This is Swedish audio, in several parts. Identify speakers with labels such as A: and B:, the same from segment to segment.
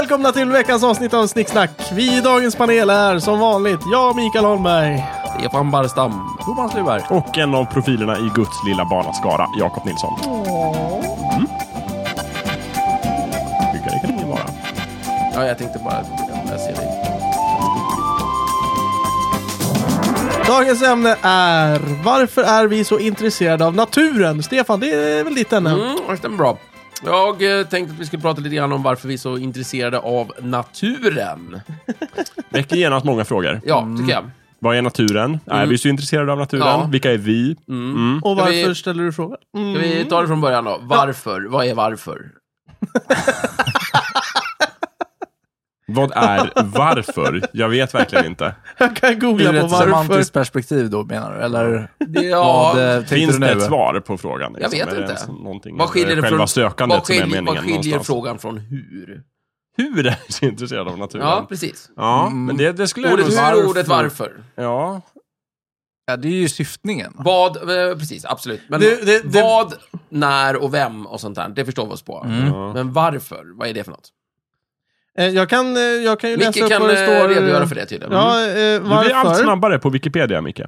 A: välkomna till veckans avsnitt av Snicksnack. Vi i dagens panel är som vanligt jag, Mikael Holmberg.
B: Stefan Barstam. Thomas Lyberg.
C: Och en av profilerna i Guds lilla barnaskara, Jakob Nilsson. Mm. Snyggare kan ingen vara.
B: Ja, jag tänkte bara att jag ser dig.
A: Dagens ämne är Varför är vi så intresserade av naturen? Stefan, det är väl ditt ämne?
B: Mm, det stämmer bra. Jag eh, tänkte att vi skulle prata lite grann om varför vi är så intresserade av naturen.
C: Väcker genast många frågor.
B: Ja, tycker jag.
C: Vad är naturen? Är vi så intresserade av naturen?
B: Mm. Ja.
C: Vilka är vi? Mm.
A: Och
B: Ska
A: varför
B: vi-
A: ställer du frågan? Mm.
B: Ska vi ta det från början då? Varför? Vad är varför?
C: Vad är varför? Jag vet verkligen inte.
A: Jag kan googla
D: Ur
A: på
D: ett
A: varför.
D: semantiskt perspektiv då menar du? Eller
B: Ja,
D: vad eh, tänkte
C: Finns
D: du nu?
C: det ett svar på frågan? Liksom?
B: Jag vet
C: Är det
B: inte.
C: ens någonting
B: vad skiljer det
C: själva
B: från...
C: sökandet
B: vad skiljer,
C: som är meningen
B: vad skiljer
C: någonstans?
B: frågan från hur?
C: Hur är vi så intresserade av naturen?
B: Ja, Mm.
C: Ja,
B: precis.
D: Mm.
C: men det, det skulle jag
B: Ordet
C: nog
B: hur
C: säga.
B: och ordet varför.
C: Ja,
D: Ja, det är ju syftningen.
B: Vad, eh, precis, absolut. Men
A: Det- det- det-
B: vad, när och vem och sånt där, det förstår vi oss på. Men varför? Vad är det för något?
A: Eh, Jag kan, eh, jag kan ju läsa
B: Micke
A: upp
B: kan
A: vad det
B: eh,
A: står.
B: redogöra för det tydligen.
A: Ja, eh,
C: du blir allt
A: varför?
C: snabbare på Wikipedia, Micke.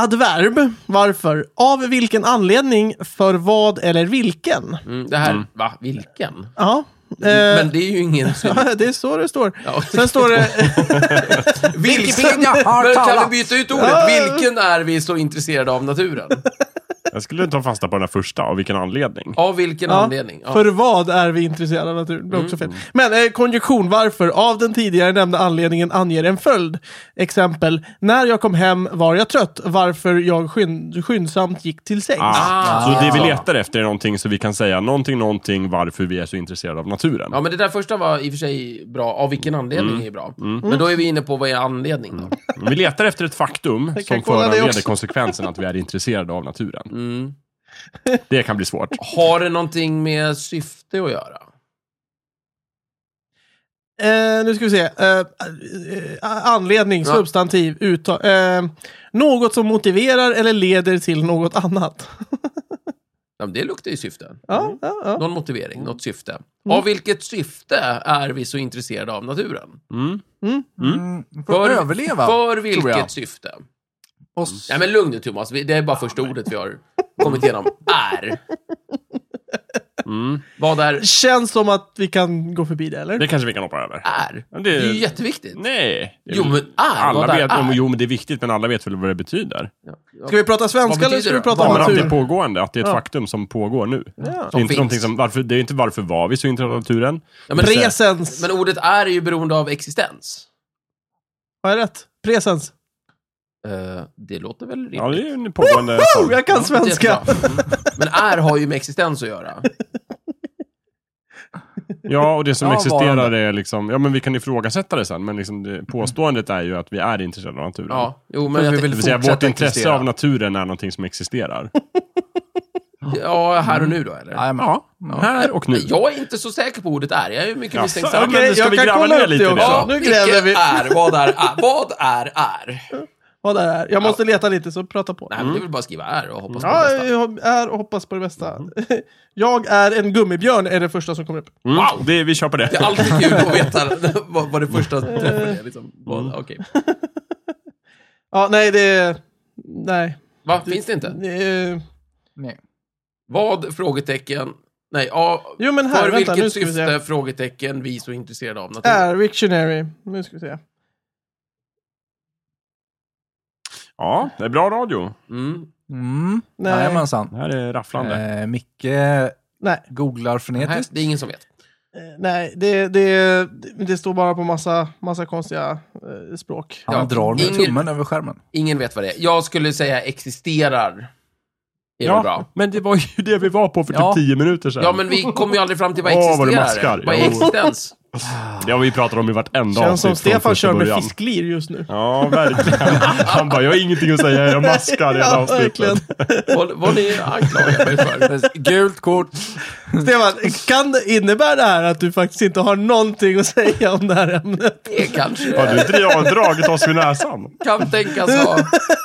A: Adverb. Varför? Av vilken anledning? För vad eller vilken?
B: Mm, det här, va, vilken?
A: Ja. eh,
B: Men det är ju ingen...
A: Ja, det är så det står.
B: Ja.
A: Sen står det...
D: Wikipedia har
B: Men kan
D: talat.
B: vi byta ut ordet? Vilken är vi så intresserade av naturen?
C: Jag skulle ta fasta på den här första, av vilken anledning?
B: Av vilken
A: Ja,
B: anledning? Ja. Mm.
A: För vad är vi intresserade av natur? Det är också fel. Men eh, konjunktion, varför? Av den tidigare nämnda anledningen anger en följd. Exempel, när jag kom hem var jag trött, varför jag skynd skyndsamt gick till sängs.
C: Ah.
B: Ah.
C: Så det vi letar efter är någonting så vi kan säga någonting, någonting varför vi är så intresserade av naturen.
B: ja, men det där första var i och för sig bra. Av vilken anledning
D: Mm.
B: är bra.
A: Mm.
B: Men då är vi inne på vad är anledning då?
C: Vi letar efter ett faktum
A: kan
C: som
A: kolla det
C: föranleder
A: också.
C: konsekvensen att vi är intresserade av naturen.
B: Mm.
C: Det kan bli svårt.
B: Har det någonting med syfte att göra?
A: Eh, nu ska vi se. Eh, eh, anledning,
B: Ja.
A: substantiv, uttag. Eh, något som motiverar eller leder till något annat.
B: Ja, men det luktar ju syfte.
A: Ja, Mm. ja, ja.
B: Någon motivering, något syfte. Av vilket syfte är vi så intresserade av naturen?
C: Mm.
D: Mm. För att överleva.
B: För
D: tror jag.
B: vilket syfte?
D: Oss.
B: Nej men lugn nu Thomas, Vi- det är bara första ordet vi har kommit igenom. Är.
C: Mm.
B: Vad är
A: Känns som att vi kan gå förbi det, eller?
C: Det kanske vi kan hoppa över.
B: är?
C: Men
B: Det
C: det-
B: är ju jätteviktigt.
C: Nej. det är
B: Jo
C: väl-
B: men är,
C: alla
B: vad är
C: vet,
B: är?
C: Jo, men det är viktigt, men alla vet väl vad det betyder.
A: Ska vi prata
B: Vad
A: svenska
B: betyder
A: eller ska vi
B: det?
A: prata
C: Ja,
A: om
C: men att det är
A: natur?
C: pågående, att det är ett faktum som pågår nu. Det,
B: Som
C: är inte
B: finns.
C: någonting som, varför, det är inte varför var vi så intresserade av naturen.
B: Ja, men,
A: Presens.
B: men ordet är är ju beroende av existens.
A: Har jag rätt? Presens.
B: Eh, det låter väl rimligt.
C: Ja, det är ju en pågående...
A: Oh, jag kan
B: Ja,
A: svenska!
B: jättebra. Mm. Men är har ju med existens att göra.
C: Ja, och det som
D: Ja,
C: existerar
D: varande.
C: är liksom, ja men vi kan ifrågasätta det sen, men liksom det, påståendet är ju att vi är intresserade av naturen.
B: Ja, jo,
D: För
B: men jag
D: vi
B: tänk-
C: Det vill säga, vårt
D: Fortsätta
C: intresse
D: existera.
C: av naturen är någonting som existerar.
B: ja, här och nu då eller?
D: Jajamän.
C: Här Mm. och nu.
B: Jag är inte så säker på ordet är. Jag är mycket
C: Ja,
B: misstänksam.
C: så-
A: Okej,
C: men ska
A: jag
C: vi
A: kan
C: gräva
A: kolla
C: ner
A: upp
C: lite
A: det
C: i det
A: också.
C: då?
B: Ja,
A: Nu
B: vilket
A: gräver vi.
B: är, vad är, är, vad är, är?
A: Vad det är. Jag måste leta lite, så prata på.
B: Nej, men det är väl bara att skriva är och hoppas på
A: Mm. Ja,
B: det bästa.
A: jag är och hoppas på det bästa. Jag är en gummibjörn är det första som kommer upp.
C: Mm, wow. det, vi kör på det.
B: Det är alltid kul att veta vad, vad det första
A: Mm.
B: träffen är. Liksom. Vad- Okej.
A: Ja, nej, det... är- Nej.
B: Va, finns det inte?
A: Det är-
D: Nej.
B: Vad? Frågetecken. Nej, ja,
A: Jo, men här,
B: för
A: vänta, nu
B: vilket
A: ska vi se.
B: syfte? Frågetecken. Vi så intresserade av naturen.
A: Är, Wiktionary. Nu ska vi se.
C: Ja, det är bra radio.
B: Mm.
D: Mm.
A: Nej.
C: Det
D: Jajamensan.
C: här är rafflande.
D: Eh, Micke
A: Nej,
D: googlar
B: Nej,
D: frenetiskt.
B: det är ingen som vet.
A: eh, nej det, det, det står bara på massa, massa konstiga eh, språk.
D: Han
B: Ja,
D: drar med
B: ingen-
D: tummen över skärmen.
B: Ingen vet vad det är. Jag skulle säga existerar. Är väl bra?
C: men det var ju det vi var på för
D: Ja.
C: typ tio minuter sedan.
B: Ja, men vi kommer ju aldrig fram till vad
C: Åh,
B: existerar
C: vad du
B: är.
C: maskar.
B: Vad är
C: Jo.
B: existens?
C: Det har vi pratat om i vartenda
A: Känns som
C: avsnitt från
A: Stefan
C: första
A: kör med
C: början.
A: fisklir just nu.
C: Ja, verkligen. Han bara, jag har ingenting att säga, jag maskar i hela avsnittet.
B: Vad, vad ni anklagar mig för?
D: Gult kort.
A: Stefan, kan det innebär det här att du faktiskt inte har någonting att säga om det här ämnet?
B: Det kanske
C: Har du dra- dragit oss vid näsan?
B: kan tänkas ha...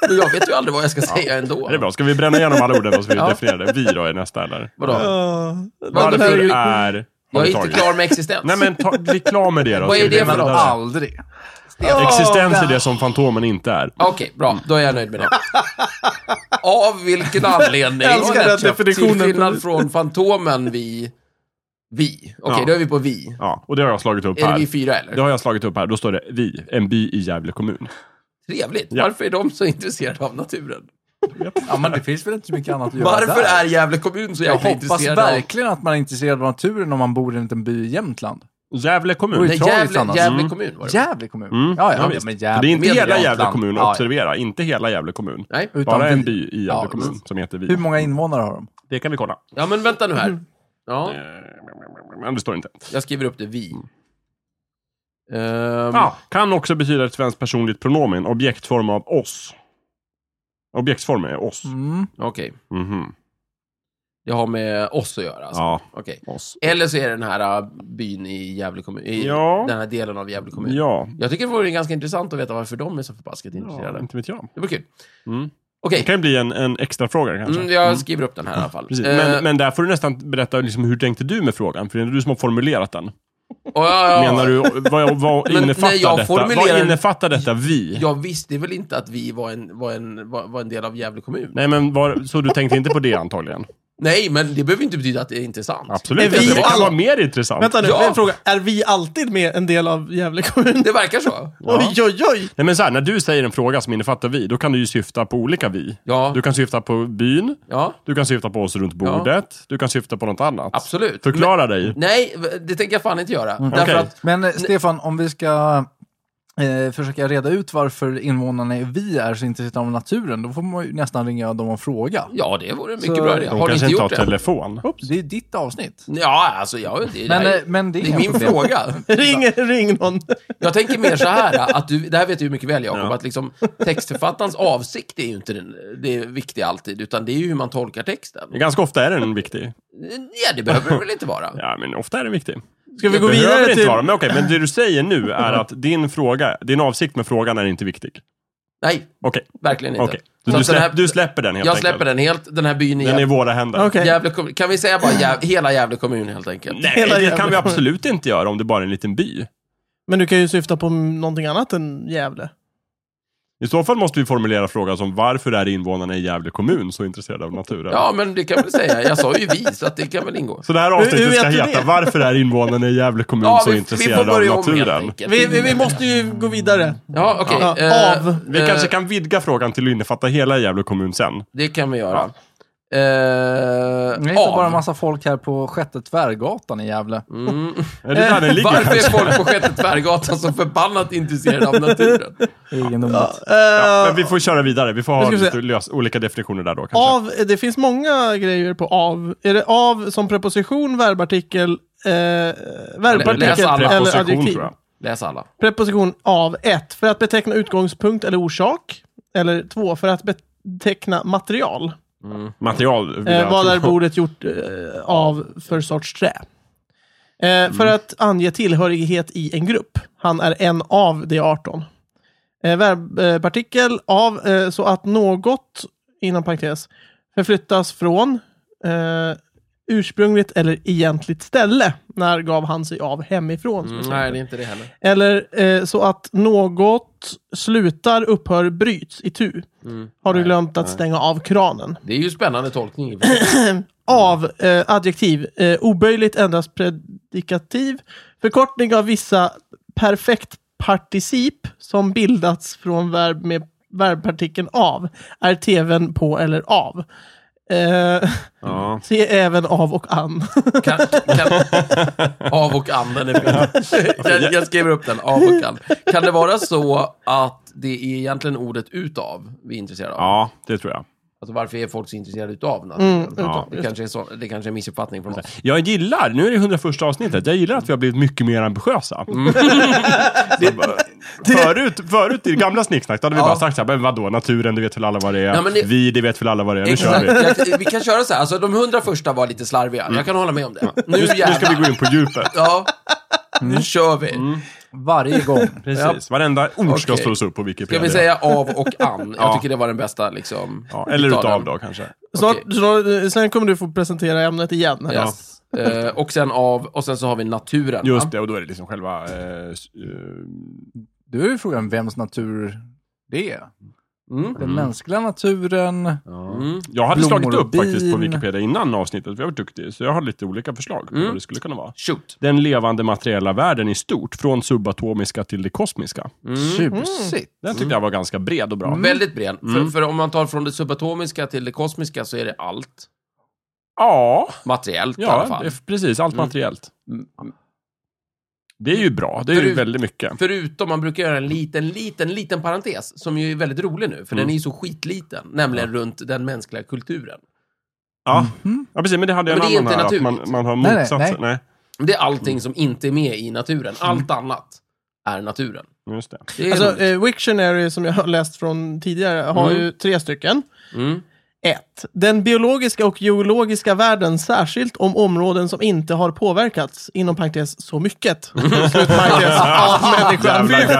B: Men jag vet ju aldrig vad jag ska säga ändå.
C: Ja, Det är bra, ska vi bränna igenom alla orden och så vi
B: Ja.
C: definierar det? Vi då är nästa eller?
B: Vadå?
A: Ja.
B: Varför
A: Det här är ju-
C: Varför är, Har
B: Jag är
C: vi
B: inte
C: tagit.
B: klar med existens.
C: Nej men ta, bli klar med det då.
B: Vad är
C: så vi
B: det för
C: går
B: något?
C: vidare.
D: Aldrig.
C: Existens är det som Fantomen inte är.
B: Okej, bra. Då är jag nöjd med det. Av vilken anledning?
A: Jag älskar den
B: Snapchat,
A: definitionen.
B: Till skillnad från Fantomen, vi... Vi. Okej,
C: Ja.
B: då är vi på vi.
C: Ja, och det har jag slagit upp
B: Är det
C: här.
B: vi fyra eller?
C: Det har jag slagit upp här. Då står det vi, en by i Gävle kommun.
B: Trevligt.
C: Ja.
B: Varför är de så intresserade av naturen?
D: Ja, men det finns väl inte så mycket annat att göra
B: Varför
D: där?
B: är Gävle kommun så
D: Jag
B: jäkla
D: hoppas
B: intresserad av...
D: verkligen att man är intresserad av naturen om man bor i en liten by i Jämtland.
C: Gävle kommun.
D: Oj.
B: Nej,
D: Tragiskt
B: Gävle,
D: annars.
B: Gävle
C: Mm.
B: kommun var det.
D: Gävle kommun.
C: Mm,
D: Ja,
C: ja,
D: ja, ja,
C: visst.
D: men
C: För
D: Gävle.
C: det är inte
B: med
C: hela
B: Jämtland.
C: Gävle kommun,
D: Ja, ja.
C: observera. Inte hela Gävle kommun.
B: Nej.
D: Utan
C: Bara en
D: vi.
C: by i Gävle
D: Ja,
C: kommun som heter vi.
D: Hur många invånare har de?
C: Det kan vi kolla. Eh,
B: Ja, men vänta nu här. Ja,
C: Men det står inte.
B: jag skriver upp det. Vi. Ehm,
C: Ja, kan också betyda ett svenskt personligt pronomen. Objektform av oss. Objektsform är oss.
D: Mm.
B: Okej.
C: Mhm.
B: Det har med oss att göra alltså.
C: Ja,
B: Okej.
C: oss.
B: Eller så är det den här äh, byn i Gävle kommun. I
C: Ja.
B: Den här delen av Gävle kommun.
C: Ja,
B: Jag tycker det vore ganska intressant att veta varför de är så förbaskat
C: ja
B: intresserade.
C: inte vet jag.
B: Det var kul.
C: Mm.
B: Okej,
C: Det kan ju bli en, en extra fråga kanske.
B: mm, jag skriver upp den här i alla fall.
C: Precis.
B: Eh,
C: Men, men där får du nästan berätta liksom, hur tänkte du med frågan? För det är du som har formulerat den.
B: och ja, ja, ja.
C: Menar du, vad,
B: Men när
C: vad
B: jag
C: innefattar detta?
B: formulerar-
C: Vad innefattar detta vi?
B: Jag visste väl inte att vi var en, var en, var, var en del av Gävle kommun. Nej.
C: Nej, men var, så du tänkte inte på det antagligen?
B: men det behöver inte betyda att det är intressant.
C: Absolut
A: Är
C: inte.
A: vi
C: Det kan
A: alla-
C: vara mer intressant.
A: Vänta nu,
B: Ja.
A: en fråga. Är vi alltid med en del av Gävle kommun?
B: Det verkar så.
A: Oj, oj, oj!
C: Nej, men så här, när du säger en fråga som innefattar vi, då kan du ju syfta på olika vi.
B: Ja.
C: Du kan syfta på byn,
B: Ja,
C: du kan syfta på oss runt bordet, du kan syfta på något annat.
B: absolut.
C: Förklara dig.
B: Men, nej, det tänker jag fan inte göra. Därför
C: Okej.
B: att,
D: Men eh, Stefan, om vi ska eh, försöka reda ut varför invånarna i vi är så intresserade av naturen, då får man ju nästan ringa dem och fråga.
B: ja, det vore en mycket
D: Så-
B: bra idé.
D: De
C: De
B: Har ni
C: kanske
B: inte
C: inte har
B: gjort det?
C: telefon.
D: Det är ditt avsnitt.
B: Ja, alltså, jag, det,
D: Men,
B: det, här-
D: eh, men det är,
B: det är
D: inga
B: min
D: problem.
B: fråga.
A: Ring, ring någon.
B: Jag tänker mer så här, att du, det här vet du ju mycket väl Jakob,
C: Ja.
B: att liksom, textförfattarens avsikt är ju inte den, det viktiga alltid, utan det är ju hur man tolkar texten.
C: Ganska ofta är den viktig.
B: Ja, det behöver det väl inte vara?
C: Ja, men ofta är den viktig.
A: Ska vi gå
C: Behöver
A: vidare
C: inte
A: till...
C: vara, men okej, men det du säger nu är att din fråga, din avsikt med frågan är inte viktig.
B: Nej,
C: Okej,
B: verkligen inte.
C: okej.
B: Så
C: Så Du,
B: att den
C: släpp,
B: här-
C: du släpper den helt
B: Jag
C: enkelt?
B: släpper den helt, den här byn i
C: Den är i
B: Gävle,
C: våra händer.
A: Okej.
B: Gävle kommun. Kan vi säga bara Gäv, hela Gävle kommun helt enkelt?
A: Hela
C: Nej, det kan vi
A: jävla-
C: absolut inte göra om det bara är en liten by.
A: Men du kan ju syfta på någonting annat än Gävle.
C: I så fall måste vi formulera frågan som varför är invånarna i Gävle kommun så intresserade av naturen?
B: Ja, men det kan jag väl säga. Jag sa ju vi, så att det kan väl ingå.
C: Så det här
A: Hur- hur
C: avsnittet
A: vet
C: ska
A: du
C: heta
A: det?
C: Varför är invånarna i Gävle kommun
B: Ja,
C: så intresserade av naturen?
B: enkelt.
A: Vi, vi, vi måste ju gå vidare.
B: Ja, okej.
A: Ja,
B: eh,
A: av.
C: Vi
B: eh,
C: kanske kan vidga frågan till att innefatta hela Gävle kommun sen.
B: Det kan vi göra.
D: Det
B: Eh,
D: är inte bara
B: av.
D: en massa folk här på Sjätte Tvärgatan i Gävle.
B: Mm.
C: Är det där den ligger
B: Varför är
C: kanske?
B: folk på Sjätte Tvärgatan så förbannat intresserade av naturen?
D: Egendomligt.
A: Eh,
C: Ja, men vi får köra vidare. Vi får ha
A: Nu ska vi
C: lite
A: se.
C: lös, olika definitioner där då kanske.
A: av, det finns många grejer på av. Är det av som preposition, verbartikel, eh,
B: Läs
A: verbartikel
B: alla.
A: eller
C: Preposition
A: adjektiv?
C: tror jag.
B: Läs alla.
A: Preposition av ett För att beteckna utgångspunkt eller orsak. Eller två För att beteckna material.
C: Material. vill
A: Eh,
C: jag
A: vad
C: tro.
A: är bordet gjort eh, av för sorts trä? Eh, för att ange tillhörighet i en grupp. Han är en av de 18. Eh, verbpartikel av eh, så att något, inom parentes, förflyttas från eh, ursprungligt eller egentligt ställe. När gav han sig av hemifrån? som det står.
B: Mm, nej, det är inte det heller.
A: Eller eh, så att något slutar, upphör, bryts i tu. Har du glömt att stänga av kranen?
B: Det är ju spännande tolkning.
A: av eh, adjektiv. Eh, oböjligt ändras predikativ. Förkortning av vissa perfekt particip som bildats från verb med verbpartikeln av. Är tvn på eller av. Eh,
C: Ja.
A: se även av och an.
B: Kan, kan, av och an, den är bra. jag, jag skriver upp den. Av och an. Kan det vara så att det är egentligen ordet utav vi är intresserade av?
C: ja, det tror jag.
B: Alltså varför är folk så intresserade utav naturen?
A: utav,
B: det, kanske är så, det kanske är en missuppfattning från oss.
C: Jag gillar, nu är det 101 avsnittet, jag gillar att vi har blivit mycket mer ambitiösa. Alltså, förut, förut i det gamla snicksnack, då hade vi
B: Ja.
C: bara sagt såhär, men vadå, naturen, det vet väl alla vad det är.
B: Ja, men det-
C: Vi, det vet väl alla vad det är. Nu kör
B: Exakt.
C: vi. Mm.
B: Jag, vi kan köra så här. Alltså, de hundra första var lite slarviga. Jag kan hålla med om det. Nu
C: Nu, nu ska vi
B: jävlar.
C: gå Mm. in på djupet.
B: Ja, nu kör vi.
D: Varje gång.
C: Precis, varenda ord ska
B: Okej.
C: slås upp på
B: Ska
C: Wikipedia.
B: vi säga av och an? Jag
C: Ja.
B: tycker det var den bästa liksom.
C: ja, eller utav
B: totalen.
C: då kanske.
A: Snart,
B: Okej.
A: snart, sen kommer du få presentera ämnet igen. här.
B: Yes. Eh, och, sen av, och sen så har vi naturen.
C: Just
B: va?
C: det, och då är det liksom själva... Eh, s- eh,
D: Du är ju frågan vems natur det är.
B: Mm.
D: Den mänskliga naturen.
B: Mm.
C: Jag hade
D: Blommor
C: slagit
D: och
C: upp faktiskt på
D: bin.
C: Wikipedia innan avsnittet, för jag var duktig. Så jag hade lite olika förslag på
B: Mm.
C: vad det skulle kunna vara.
B: Shoot.
C: Den levande materiella världen i stort, från subatomiska till det kosmiska.
B: Mm.
D: Tjusigt.
C: Den tyckte jag var ganska bred och bra.
B: Väldigt bred.
C: Mm.
B: För, för om man tar från det subatomiska till det kosmiska så är det allt.
C: Ja,
B: Materiellt i alla
C: ja
B: fall. Mm.
C: det är precis. Allt materiellt. Det är ju bra. Det är ju
B: Förut-
C: väldigt mycket.
B: Förutom, man brukar göra en liten, liten, liten parentes, som ju är väldigt rolig nu,
C: Mm.
B: för den är ju så skitliten, nämligen runt den mänskliga kulturen.
C: Ja. Mm-hmm. ja, precis. Men det hade jag
B: Men
C: en
B: det är
C: annan här,
B: inte
C: att man,
B: naturligt.
C: man har
D: Nej, nej,
C: motsatsen. Nej, nej.
B: Det är
C: Mm.
B: allting som inte är med i naturen. Allt annat är naturen.
C: Just det.
B: Det är
A: Alltså,
B: roligt.
A: eh, Wiktionary som jag har läst från tidigare har
B: Mm.
A: ju tre stycken.
B: Mm.
A: 1. Den biologiska och geologiska världen, särskilt om områden som inte har påverkats, inom parentes så mycket. Slut parentes, av människan.
C: Jävla
B: Fan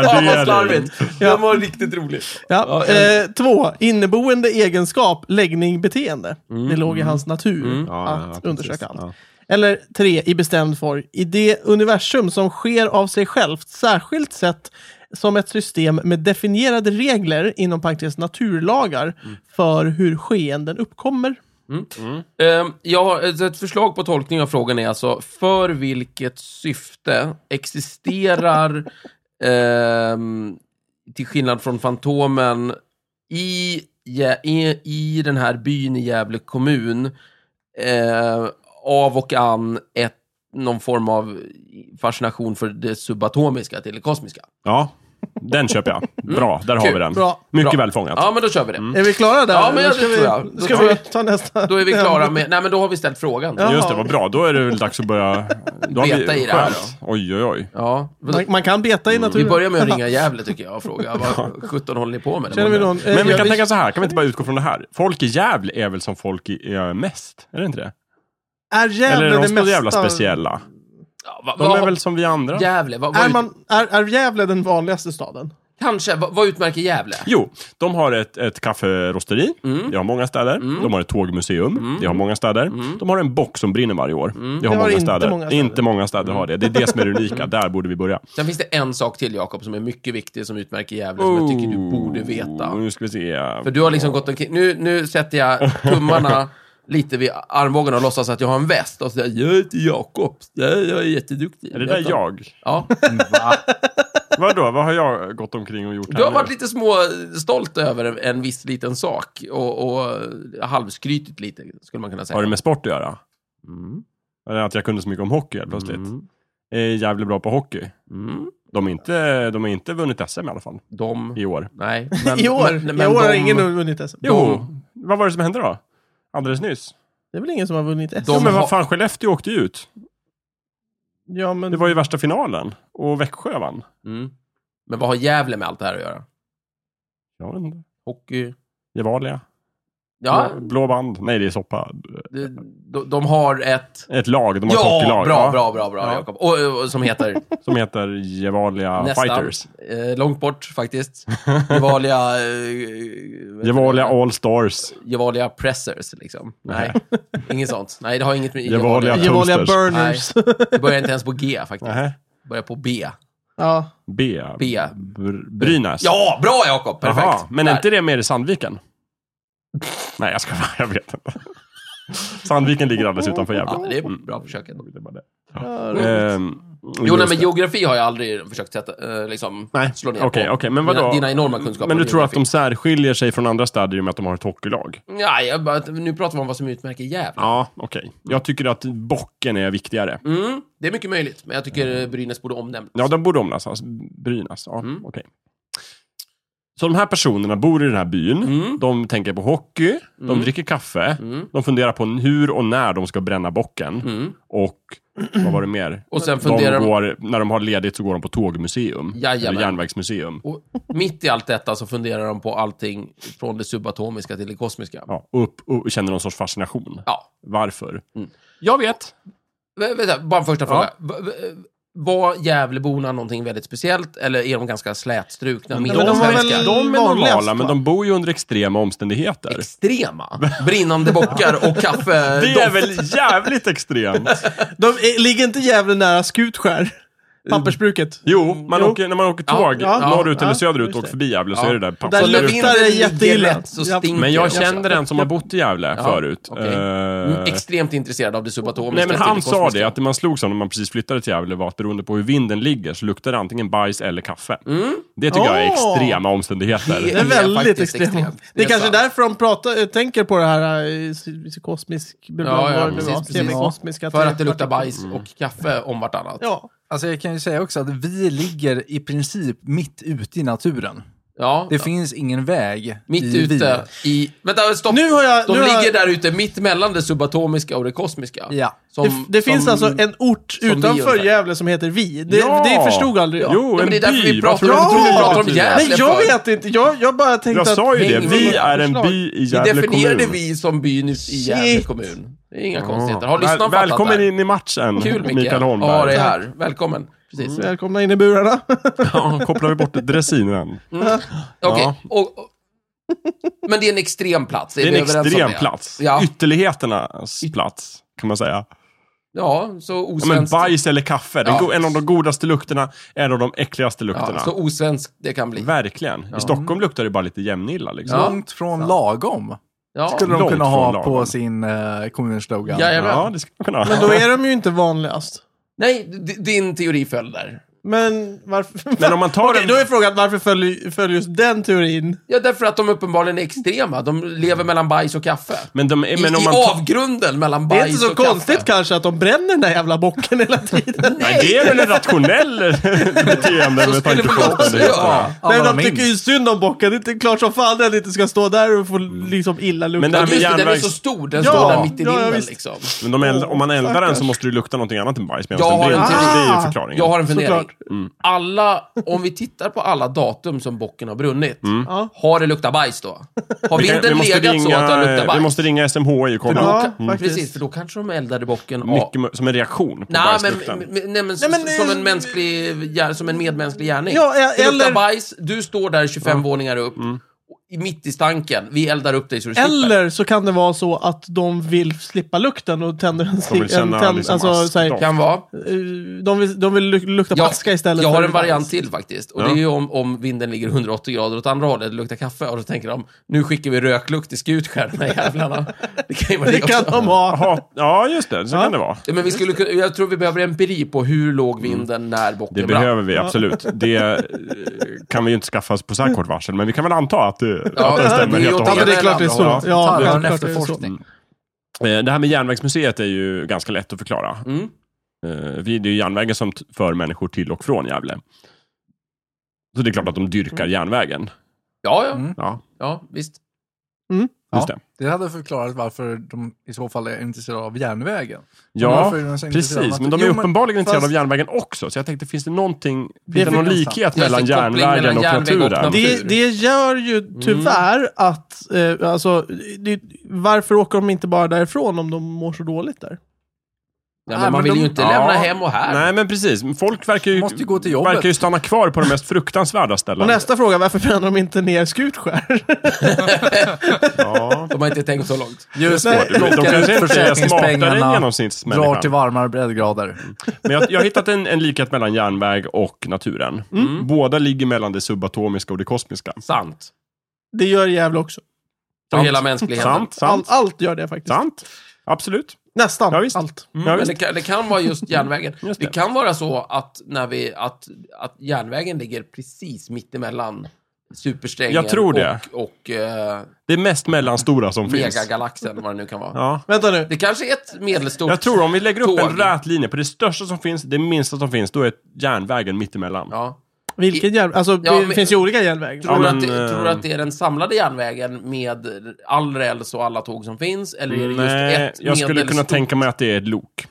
B: vad
C: gardering.
B: slarvigt! Den var riktigt rolig.
A: Ja. Eh, två, inneboende egenskap, läggning, beteende.
B: Mm,
A: Det låg i hans natur
C: Ja, ja,
A: att
C: precis.
A: undersöka allt.
C: Ja.
A: Eller tre, i bestämd form, i det universum som sker av sig självt, särskilt sett som ett system med definierade regler, inom parentes naturlagar,
B: Mm.
A: för hur skeenden uppkommer.
B: Ehm, Jag har ett ett förslag på tolkning av frågan är alltså, för vilket syfte existerar, ehm, till skillnad från Fantomen, i, Gä- i, i den här byn i Gävle kommun, eh, av och an ett, någon form av fascination för det subatomiska till det kosmiska?
C: Ja, den köper jag. Bra, där har
B: Mm. Kul.
C: vi den.
A: Bra.
C: Mycket
B: Bra.
C: väl fångat.
B: Ja, men då kör vi det.
A: Är vi klara där?
B: Ja, men
A: Eller
B: jag-
A: ska
B: det
A: vi,
B: tror jag. Då
A: Ska
B: tar
A: vi
B: vi-
A: ta nästa?
B: Då är vi klara med... Nej, men då har vi ställt frågan.
A: Ja.
C: Just det, vad bra. Då är det väl dags att börja... Då har
B: Beta
C: vi,
B: i det här
C: skönt. Oj, oj, oj.
B: Ja.
A: Man, man kan beta i
B: Mm. Vi
A: naturen.
B: börjar med att ringa Gävle tycker jag och fråga vad 17 håller ni på med?
A: Känner vi någon? Eh,
C: Men vi
A: jag-
C: kan tänka så här, kan vi inte bara utgå från det här? Folk i Gävle är väl som folk i Ö mest? Är det inte det?
A: Är Gävle
C: Eller är
A: det
C: de så
A: mesta?
C: jävla speciella?
B: Ja, va,
C: De
B: vad-
C: är väl som vi andra?
B: Gävle, vad, vad,
A: Är,
B: ut-
A: man, är, är Gävle den vanligaste staden?
B: kanske, vad, vad utmärker Gävle?
C: Jo, de har ett, ett kafferosteri.
B: Mm.
C: Det har många städer. De har ett tågmuseum. Det har många städer.
B: Mm.
C: De har en bock som brinner varje år. Det har,
A: har
C: många,
A: inte
C: städer.
A: många städer.
C: Inte många städer har det. Det är det som är det
B: Mm.
C: unika. Där borde vi börja.
B: Sen finns det en sak till Jakob som är mycket viktig som utmärker Gävle som jag tycker du borde
C: Oh,
B: veta.
C: Nu ska vi se.
B: För du har liksom gått omkring, nu, nu sätter jag tummarna lite vid armbågarna och låtsas att jag har en väst och så säger jag, jag heter Jakob, jag jag är jätteduktig.
C: Är det där
B: Vet
C: jag?
B: Ja,
D: Va?
C: Vadå? Vad har jag gått omkring och gjort här
B: du har
C: nu?
B: varit lite små stolt över en, en viss liten sak och, och halvskrytit lite, skulle man kunna säga.
C: Har det med sport att göra? Eller att jag kunde så mycket om hockey helt plötsligt? Jag är jävligt bra på hockey.
B: Mm.
C: De har inte, de har inte vunnit SM i alla fall,
B: De...
C: i år.
B: Nej.
A: I år? I år har ingen vunnit SM.
C: Jo, vad var det som hände då? Alldeles nyss?
A: Det är väl ingen som har vunnit SM?
B: De
C: jo, men
B: har-
C: vad fan, Skellefteå åkte ju ut.
A: Ja, men...
C: Det var ju värsta finalen. Och Växjö vann.
B: Mm. Men vad har Gävle med allt det här att göra?
C: Jag vet inte.
B: Hockey?
C: Gevalia.
B: Ja,
C: Blå- Blå band. Nej, det är soppa.
B: de, de, de har ett...
C: Ett lag. De har ett
B: Ja,
C: hockeylag.
B: bra,
C: ja,
B: bra, bra, bra,
C: Ja.
B: Jakob. Och, och, som heter
C: Som heter Gevalia
B: nästan...
C: Fighters.
B: Eh, långt bort, faktiskt. Gevalia... Eh,
C: Gevalia All Stars.
B: Gevalia Pressers, liksom. Nej, inget sånt. Nej, det har inget med
C: Gevalia-
A: Gevalia
C: Toasters.
A: Burners.
B: Det börjar inte ens på G, faktiskt.
C: Nähä.
B: Det börjar på B.
A: ja.
C: B.
B: B.
C: Br- Brynäs.
B: Ja, bra Jakob! Perfekt.
C: Jaha, men är
B: Där.
C: inte det mer i Sandviken? Nej, jag ska jag vet inte. Sandviken ligger alldeles utanför Gävle. Mm.
B: Ja, det är bra försök ändå.
C: Det är bara det.
A: Ja,
C: Ehm,
B: Jo, nej,
C: just
B: men
C: det.
B: geografi har jag aldrig försökt sätta, eh, liksom,
C: Nej,
B: slå ner på.
C: Okej, okej, men vadå?
B: Dina, dina enorma kunskaper
C: Men du
B: om
C: tror att de
B: geografi.
C: särskiljer sig från andra städer i och med att de har ett hockeylag?
B: Nej, jag bara, nu pratar vi om vad som utmärker Gävle.
C: Ja, okej. Jag tycker att bocken är viktigare.
B: Mm, det är mycket möjligt, men jag tycker eh, Brynäs borde omnämnas.
C: Ja, de borde omlastas. Brynäs. Ja,
B: Mm.
C: okej. Så de här personerna bor i den här byn.
B: Mm.
C: De tänker på hockey, de dricker kaffe, de funderar på hur och när de ska bränna bocken.
B: Mm.
C: Och vad var det mer?
B: Och sen funderar
C: de
B: de...
C: går, när de har ledigt så går de på tågmuseum.
B: Jajamän.
C: Eller järnvägsmuseum.
B: Och mitt i allt detta så funderar de på allting från det subatomiska till det kosmiska.
C: Ja, upp och känner någon sorts fascination.
B: Ja.
C: Varför?
B: Mm.
C: Jag vet.
B: Vä- Vänta, bara en första fråga. V- v- var Gävleborna någonting väldigt speciellt eller är de ganska slätstrukna?
C: Men de,
A: de var väl-
B: medelsvenskar?
C: de är
A: vanligast,
C: normala,
A: va?
C: men de bor ju under extrema omständigheter.
B: Extrema. Brinnande bockar och kaffe.
C: Det är väl jävligt extremt?
A: De eh, ligger inte jävligt nära Skutskär? Pappersbruket.
C: Jo, man
A: Jo.
C: Åker, när man åker tåg
A: Ja, ja,
C: norrut
A: ja,
C: eller söderut
A: just
C: och
A: det.
C: åker förbi Gävle så
B: Ja.
C: är det där
A: där
B: Så när
A: luktar
C: pappersbruket.
B: vinden
A: det
B: ligger
A: jätteilla.
B: rätt Så
A: Ja.
B: stinker det.
C: Men jag känner en som har bott i Gävle
B: Ja,
C: förut.
B: okej.
C: Eh,
B: Mm, extremt intresserad av det subatomiska.
C: Nej men han sa
B: kosmiska.
C: det, att det man slogs av när man precis flyttade till Gävle var att beroende på hur vinden ligger så luktar det antingen bajs eller kaffe. Det tycker jag är
A: Åh!
C: extrema omständigheter.
A: Det är
B: Det är
A: väldigt
B: faktiskt
A: extremt.
B: extremt.
A: Det
B: Det
A: är
B: är
A: kanske
B: sant.
A: därför de pratar, eh, tänker på det här eh, s- kosmisk...
B: Ja, ja,
A: vad det
B: precis,
A: var,
B: precis.
A: semikosmiska
B: För att det
A: teorier.
B: luktar bajs och kaffe om vartannat.
A: Ja.
D: Alltså jag kan ju säga också att vi ligger i princip mitt ute i naturen.
B: Ja.
D: Det finns ingen väg
B: Mitt
D: i vi.
B: ute i... Vänta, stopp!
A: Nu har jag...
B: De
A: nu har jag,
B: ligger där ute mitt mellan det subatomiska och det kosmiska.
D: Ja.
B: Som,
A: det det finns
B: som-
A: alltså en ort
B: vi
A: utanför
B: ungefär.
A: Gävle som heter Vi. Det,
C: Ja!
A: det förstod aldrig jag.
C: Jo,
B: Ja, men
C: en
B: det är därför
C: by.
B: vi
C: Vad
B: pratar,
C: tror du
A: om-
C: att
A: vi pratar
B: om
C: betyder?
B: Gävle.
A: Men jag
B: för-
A: vet inte, jag, jag bara tänkte
C: Jag
A: att...
C: sa ju det,
B: Häng med
C: vi
B: våra
C: är en
A: förslag.
C: by i
B: Vi
C: Gävle
B: definierade
C: kommun.
B: vi som byn i i Gävle
A: Shit.
B: kommun. Det är inga
C: Ja.
B: konstigheter. Har
C: Väl-
B: lyssnarna fattat
C: Välkommen
B: det?
C: in i matchen,
B: Kul Micke.
C: Mikael
B: Ja, det
C: Holmberg.
B: är här. Välkommen. Mm. Precis.
A: Välkomna in i burarna.
C: Ja, kopplar vi bort dressinen.
B: Okej.
C: Ja.
B: Och, och, men det är en extrem plats. Är
C: Det är
B: vi
C: en
B: överens om
C: extrem
B: det?
C: plats.
B: Ja.
C: Ytterligheternas plats, kan man säga.
B: Ja, så
C: Ja, men
B: osvenskt.
C: bajs eller kaffe, den
B: Ja.
C: go- en av de godaste lukterna, en av de äckligaste lukterna.
B: ja, så osvenskt det kan bli.
C: Verkligen. I Stockholm luktar det bara lite jämnilla. Liksom.
B: Ja.
D: Långt från lagom.
B: Ja.
D: Skulle de
C: Långt
D: kunna
C: från
D: ha
C: lagom.
D: på sin eh, kommuns slogan.
B: Ja, ja.
C: Ja,
B: Jajamän.
C: det ska man kunna.
A: Men då är de ju inte vanligast.
B: Nej, d- din teori föll där.
A: Men varför...
C: Men om man tar
A: Okej,
C: en...
A: då är frågan varför följer följer just den teorin?
B: Ja, därför att de uppenbarligen är extrema. De lever mellan bajs och kaffe.
C: Men, de,
B: I,
C: Mm. men om
B: i
C: man tar...
B: avgrunden mellan
A: Det
B: bajs
A: är inte så
B: och kaffe.
A: konstigt kanske att de bränner den där jävla bocken hela tiden.
C: Nej, det är väl en rationell beteende
B: Så
C: med
B: skulle
C: tanke
B: man
C: på
B: också
C: omständigheterna.
B: göra.
A: Nej,
D: Alla
A: de
D: minst.
A: tycker ju synd om bocken. Det är inte klart som fan den inte ska stå där och få liksom illa lukt.
C: Men
B: Ja,
C: där-
B: just det, den är
C: järnvägs-
B: så stor. Den
A: Ja,
B: står där mitt i
A: ja, ja,
B: dimmen
A: visst.
B: liksom.
C: Men de eld, om man eldar den så
A: Stackars.
C: måste det lukta någonting annat än bajs. medan
B: Jag
C: den
B: har en
C: brinner.
B: teori.
C: Det är ju förklaringen.
B: Jag har en fundering.
A: Såklart.
C: Mm.
B: Alla, om vi tittar på alla datum som bocken har brunnit,
A: Ja.
B: har det luktat bajs då? Har
C: Mm. Vi kan-
B: vinden
C: vi måste
B: legat så att den luktar
C: ringa- eh,
B: bajs?
C: Vi måste ringa SMHI och kolla.
A: Ja,
B: Mm.
A: faktiskt.
B: Precis, för då kanske de eldade bocken av...
C: Mycket mö- som en reaktion på
B: Nej
C: bajslukten.
B: men, men, nej, men,
A: Nej, men
B: s-
A: det-
B: som en mänsklig, gär- som en medmänsklig gärning.
A: Ja, e-
B: det luktar
A: eller-
B: bajs, du står där 25 våningar upp,
C: Mm.
B: och- i- mitt i stanken, vi eldar upp dig så du slipper.
A: Eller så kan det vara så att de vill slippa lukten och tänder en
C: vill
A: cig- en
C: känna
A: tänd,
C: liksom
A: alltså,
C: askdoft.
A: så här, eh,
B: Kan vara.
A: de, vill, de vill luk- lukta på aska istället.
B: jag
A: för
B: har en
A: bajs.
B: variant till faktiskt. Och det är ju om, om vinden ligger 180 grader åt andra hållet, det luktar kaffe, och då tänker de, nu skickar vi röklukt till Skutskär, de här jävlarna. Det kan ju vara
A: Det
B: det
A: kan
B: också.
A: de ha.
C: Jaha, ja, just det. Så
A: Ja.
C: kan det vara.
B: Ja, Men vi skulle, kunna- jag tror vi behöver empiri på hur låg vinden när bocken
C: Mm. Det
B: brann.
C: behöver vi, absolut. Det eh, kan vi ju inte skaffa oss på så här kort varsel, men vi kan väl anta att, eh, att
B: det
C: den stämmer
B: är
C: helt och
B: åt
A: Ja, men
C: hållet.
A: det är klart det är så.
B: Ja.
A: Ja,
D: Tarvar en
A: självklart är det så.
D: efterforskning.
C: Eh, Det här med järnvägsmuseet är ju ganska lätt att förklara.
B: Mm.
C: Eh, vi- Det är ju järnvägen som t- för människor till och från Gävle. Så det är klart att de
A: Mm.
C: dyrkar järnvägen.
B: Ja, ja,
D: Mm.
C: Ja,
B: ja, visst.
C: just
D: Ja.
C: det.
D: Det hade förklarat varför de i så fall är intresserade av järnvägen.
C: Ja,
D: varför är de så intresserade av
C: precis.
D: att-
C: Men de är
D: Jo,
C: uppenbarligen intresserade
D: fast-
C: av järnvägen också. Så jag tänkte, finns det någonting, finns det
A: finns
C: någon
D: det.
C: likhet
B: Det finns
C: mellan
B: en koppling mellan
C: järnvägen och
B: järnväg och
C: naturen?
B: natur.
A: Det, det gör ju tyvärr
B: Mm.
A: att, eh, alltså, det, varför åker de inte bara därifrån om de mår så dåligt där?
B: Ja,
D: Nej,
B: men man
D: men
B: vill
D: de-
B: ju inte
C: Ja.
B: lämna hem och här.
C: Nej, men precis. Folk verkar ju,
D: Måste ju gå till jobbet.
C: verkar ju stanna kvar på de mest fruktansvärda
A: Och
C: ställena.
A: nästa fråga, varför bränner de inte ner Skutskär?
C: Ja.
B: De har inte tänkt så långt.
D: Just
A: Nej.
D: det.
C: De kanske inte är smartare än
D: Försäkringspengarna
C: genomsnittsmänniskan.
D: drar till varmare breddgrader.
C: Men jag, jag har hittat en, en likhet mellan järnväg och naturen. Båda ligger mellan det subatomiska och det kosmiska.
B: Sant.
A: det gör Gävle också.
B: För
C: Sant.
B: hela mänskligheten.
C: Sant,
A: Allt,
C: sant,
A: allt gör det faktiskt.
C: sant. Absolut.
A: Nästan
C: Ja, visst.
A: allt.
B: Mm,
C: Ja,
B: men
C: visst.
B: det, kan, det kan vara just järnvägen.
C: Just
B: det.
C: det.
B: kan vara så att, när vi, att, att järnvägen ligger precis mittemellan supersträngen
C: Jag tror det.
B: och, och eh,
C: Det är mest mellanstora som finns.
B: megagalaxen, vad det nu kan vara.
C: Ja.
A: Vänta nu.
B: Det kanske är ett medelstort...
C: Jag tror om vi lägger upp en
B: Tåg.
C: rät linje på det största som finns, det minsta som finns, då är järnvägen mittemellan.
B: Ja.
A: Vilken järnväg? Alltså,
B: Ja,
A: det
B: men-
A: finns ju olika järnvägar.
B: Tror,
C: Ja,
B: du att
C: men,
B: det,
C: eh,
B: tror du att det är den samlade järnvägen med all räls och alla tåg som finns? Eller är det just
C: Nej,
B: ett
C: jag skulle kunna
B: medelstort-
C: tänka mig att det är ett lok.